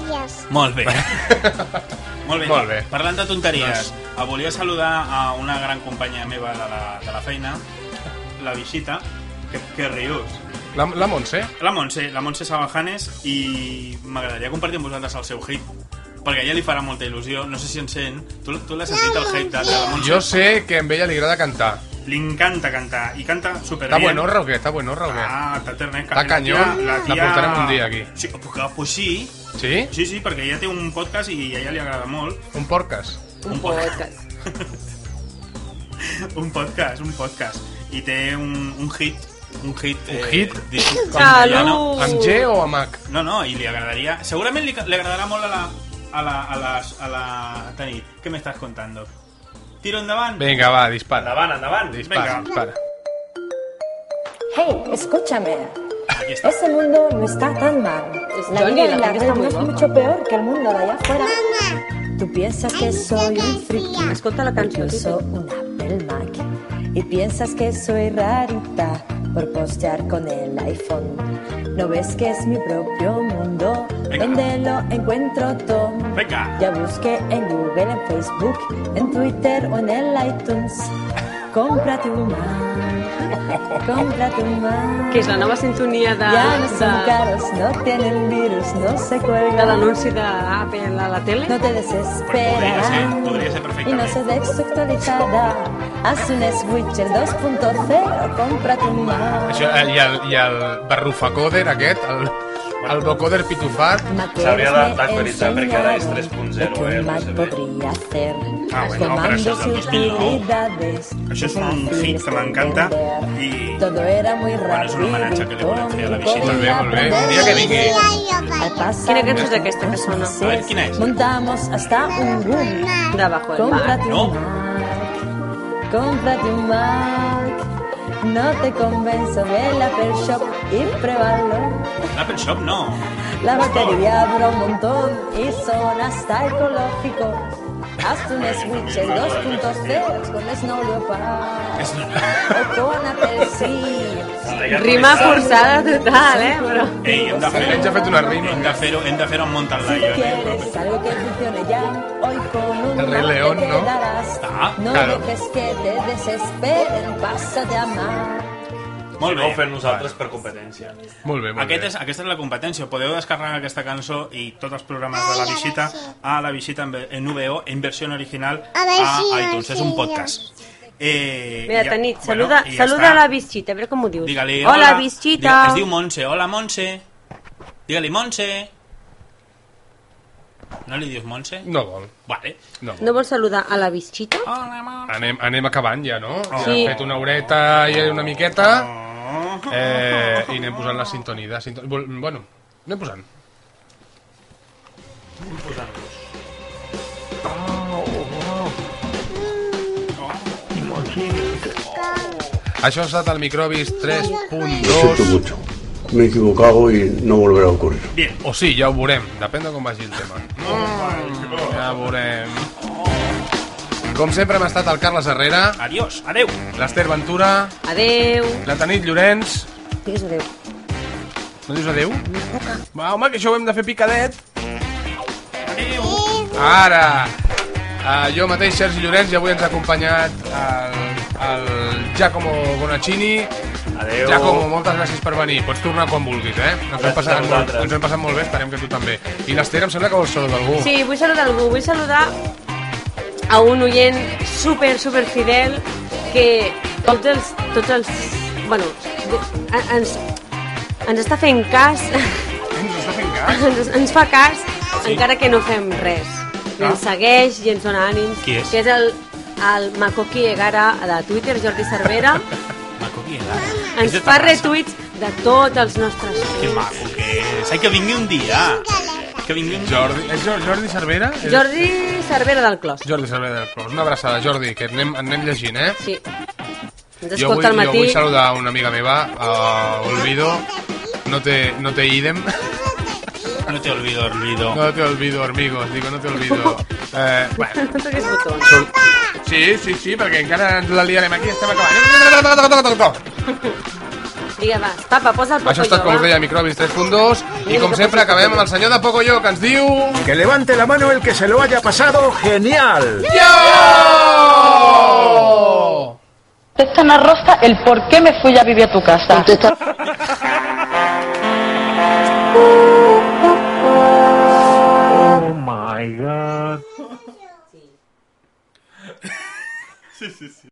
Speaker 6: Yes.
Speaker 2: Molt bé. Molt bé.
Speaker 1: Molt bé. Doncs-
Speaker 2: Parlant de tonteries, eh, volia saludar a una gran companya meva de la, de la feina, la Visita, que, que rius.
Speaker 1: La, la Montse?
Speaker 2: La Montse, la Montse Sabajanes, i m'agradaria compartir amb vosaltres el seu hit, perquè a ella li farà molta il·lusió, no sé si en sent. Tu, tu l'has sentit, el hit de, de la Montse?
Speaker 1: Jo sé que a ella li agrada cantar.
Speaker 2: Li encanta cantar, i canta
Speaker 1: Està
Speaker 2: superbien.
Speaker 1: buenorra o què? Està buenorra o què?
Speaker 2: Ah, està ternet.
Speaker 1: Està canyó. La portarem un dia, aquí.
Speaker 2: Sí, pues, pues sí,
Speaker 1: Sí?
Speaker 2: sí, sí, perquè ella té un podcast i a ella li agrada molt.
Speaker 1: Un porques?
Speaker 3: Un podcast.
Speaker 2: Un podcast, un podcast. I té un, un hit, un hit... eh, Un
Speaker 1: hit?
Speaker 2: Dit,
Speaker 3: Salut!
Speaker 1: Amb G o amb H?
Speaker 2: No, no, i li agradaria... Segurament li, li agradarà molt a la... A la... A la... A la... Tanit, què m'estàs contando? Tiro endavant?
Speaker 1: Vinga, va, dispara.
Speaker 4: Endavant, endavant.
Speaker 1: Dispara,
Speaker 2: Vinga.
Speaker 1: dispara.
Speaker 16: Hey, escúchame.
Speaker 2: Aquí está.
Speaker 16: Ese Este mundo no está tan mal.
Speaker 3: Es
Speaker 16: Pues La
Speaker 3: Johnny,
Speaker 16: vida
Speaker 3: la
Speaker 16: en la
Speaker 3: gente
Speaker 16: red
Speaker 3: está muy
Speaker 16: no es
Speaker 3: loca.
Speaker 16: mucho peor que el mundo de allá afuera. Tú piensas que soy un friki.
Speaker 3: Escolta la
Speaker 16: porque
Speaker 3: cançó.
Speaker 16: uso un Apple Mac. Y piensas que soy rarita por postear con el iPhone. No ves que es mi propio mundo
Speaker 2: Venga.
Speaker 16: donde lo encuentro todo.
Speaker 2: Vinga.
Speaker 16: Ya busqué en Google, en Facebook, en Twitter o en el iTunes. Cómprate un humano. Cómprate un humano.
Speaker 3: Que és la nova sintonia de...
Speaker 16: Ya no son
Speaker 3: de...
Speaker 16: caros, no tienen virus, no se cuelgan.
Speaker 3: de l'anunci d'Apple a la tele.
Speaker 16: No te
Speaker 9: Podría
Speaker 16: desesperas.
Speaker 9: ser, podría ser
Speaker 16: Y no
Speaker 9: perfectamente.
Speaker 16: se desactualizada. Haz un Switcher 2.0, cómprate un humano.
Speaker 1: Això, eh, i, el, I el barrufacòder aquest, el, el bocòder pitufat...
Speaker 4: S'hauria d'actualitzar perquè ara és 3.0, eh?
Speaker 16: Mac podría hacer
Speaker 4: Ah, bueno,
Speaker 16: tomando
Speaker 4: pero eso es del
Speaker 16: sus
Speaker 4: 2009.
Speaker 16: utilidades.
Speaker 2: Això és un hit que m'encanta i
Speaker 16: Todo era muy rápido.
Speaker 2: és un homenatge que li volem fer a la
Speaker 1: Molt bé,
Speaker 2: visita.
Speaker 1: molt bé. Un dia que vingui...
Speaker 3: Quina cançó és aquesta que sona?
Speaker 1: A veure, quina és?
Speaker 16: Montamos hasta un boom.
Speaker 3: Debajo del mar.
Speaker 16: Cómprate un Mac. Cómprate un Mac. No te convenzo, ve al Apple Shop y pruébalo.
Speaker 9: L'Apple Shop no.
Speaker 16: La batería dura un montón y son hasta ecológicos. Hazte un Switcher 2.0 con Snow Leopard o con Apple Sea.
Speaker 3: Rima forçada total, eh? Però...
Speaker 9: Ei, hem de fer...
Speaker 1: Ens ha fet una rima.
Speaker 9: Hem de fer-ho hem de fer amb Mountain Lion. eh?
Speaker 16: ¿Quieres algo que funcione ya? Hoy con un
Speaker 9: El Rey
Speaker 16: Mac te
Speaker 9: León, ¿no?
Speaker 16: quedarás.
Speaker 9: Ah,
Speaker 16: No
Speaker 9: claro.
Speaker 16: dejes que te desesperen, pásate a Mac.
Speaker 4: Molt bé. No ho fem nosaltres per competència.
Speaker 1: Molt bé,
Speaker 9: Aquest és, aquesta és la competència. Podeu descarregar aquesta cançó i tots els programes de la visita a la visita en, en VO, en versió original, a
Speaker 3: A ver si
Speaker 9: iTunes. És un podcast. Eh,
Speaker 3: Mira,
Speaker 9: ja-
Speaker 3: Tanit,
Speaker 9: bueno,
Speaker 3: saluda,
Speaker 9: i ja
Speaker 3: saluda
Speaker 9: està.
Speaker 3: la visita, a veure com ho dius.
Speaker 9: Digue-li,
Speaker 3: hola, visita.
Speaker 9: Digue, es diu Montse, hola Montse. Digue-li Montse. No li dius Montse?
Speaker 1: No vol.
Speaker 9: Vale.
Speaker 1: No vol.
Speaker 3: No vols saludar a la visita?
Speaker 9: Hola, amor.
Speaker 1: Anem, anem acabant ja, no? Ja
Speaker 3: Sí.
Speaker 1: hem fet una horeta i una miqueta eh, i anem posant la sintonia. Sinton... Vol- Bueno, anem posant. Això ha estat el Microbis 3.2.
Speaker 7: mucho. Me he equivocado y no volverá a ocurrir.
Speaker 1: O sí, ja ho veurem. Depèn de com vagi el tema. Mm, ja ho veurem. Com sempre hem estat el Carles Herrera.
Speaker 9: Adiós, adeu.
Speaker 1: L'Ester Ventura.
Speaker 3: Adeu.
Speaker 1: La Tanit Llorenç.
Speaker 8: Digues adéu.
Speaker 1: No dius adeu? Va, home, que això ho hem de fer picadet. Ara! Uh, jo mateix, Sergi Llorenç, i avui ens ha acompanyat el, el Giacomo Bonaccini.
Speaker 4: Adéu.
Speaker 1: Giacomo, moltes gràcies per venir. Pots tornar quan vulguis, eh? Ens ho hem
Speaker 4: Gràcies a
Speaker 1: passat, molt,
Speaker 4: vosaltres.
Speaker 1: ens ho hem passat molt bé, esperem que tu també. I l'Ester, em sembla que vols saludar algú.
Speaker 3: Sí, vull saludar algú, vull saludar a un oient super, super fidel que tots els, tots els bueno, de- a- ens, ens està fent cas,
Speaker 1: Eh, Ens està fent cas?
Speaker 3: ens, ens fa cas, encara que no fem res. I
Speaker 1: Ah.
Speaker 3: ens segueix i ens dona ànims.
Speaker 9: Qui és?
Speaker 3: Que és el, el Makoki Egara de Twitter, Jordi Cervera.
Speaker 9: Maco, qui era? És
Speaker 3: ens
Speaker 9: de
Speaker 3: fa
Speaker 9: Terrassa.
Speaker 3: retuits de tots els nostres
Speaker 9: Que maco que és. Ai, que vingui un dia. Que vingui un dia.
Speaker 1: Jordi, és Jordi, Jordi Cervera? És-
Speaker 3: Jordi Cervera del Clos.
Speaker 1: Jordi Cervera del Clos. Una abraçada, Jordi, que anem, anem llegint, eh?
Speaker 3: Sí. Ens
Speaker 1: Jo vull,
Speaker 3: escolta al
Speaker 1: jo
Speaker 3: matí.
Speaker 1: vull saludar una amiga meva, uh, Olvido. No te, no te idem.
Speaker 9: No te olvido, olvido.
Speaker 1: No te olvido, amigos. Digo, no te olvido. Eh, bueno,
Speaker 3: No toquis botó.
Speaker 1: sol- Sí, sí, sí, perquè encara ens la liarem aquí, estem acabant.
Speaker 3: Digue, va, papa, posa el
Speaker 1: Això ha
Speaker 3: Pocoyo,
Speaker 1: estat, com us
Speaker 3: va.
Speaker 1: deia, Microbis 3.2 i com sempre acabem amb el senyor de Pocoyo que ens diu...
Speaker 18: Que levante la mano el que se lo haya pasado genial.
Speaker 19: Contestan a Rosta el por qué me fui a vivir a tu casa.
Speaker 6: Oh my god.
Speaker 9: Sí, sí, sí.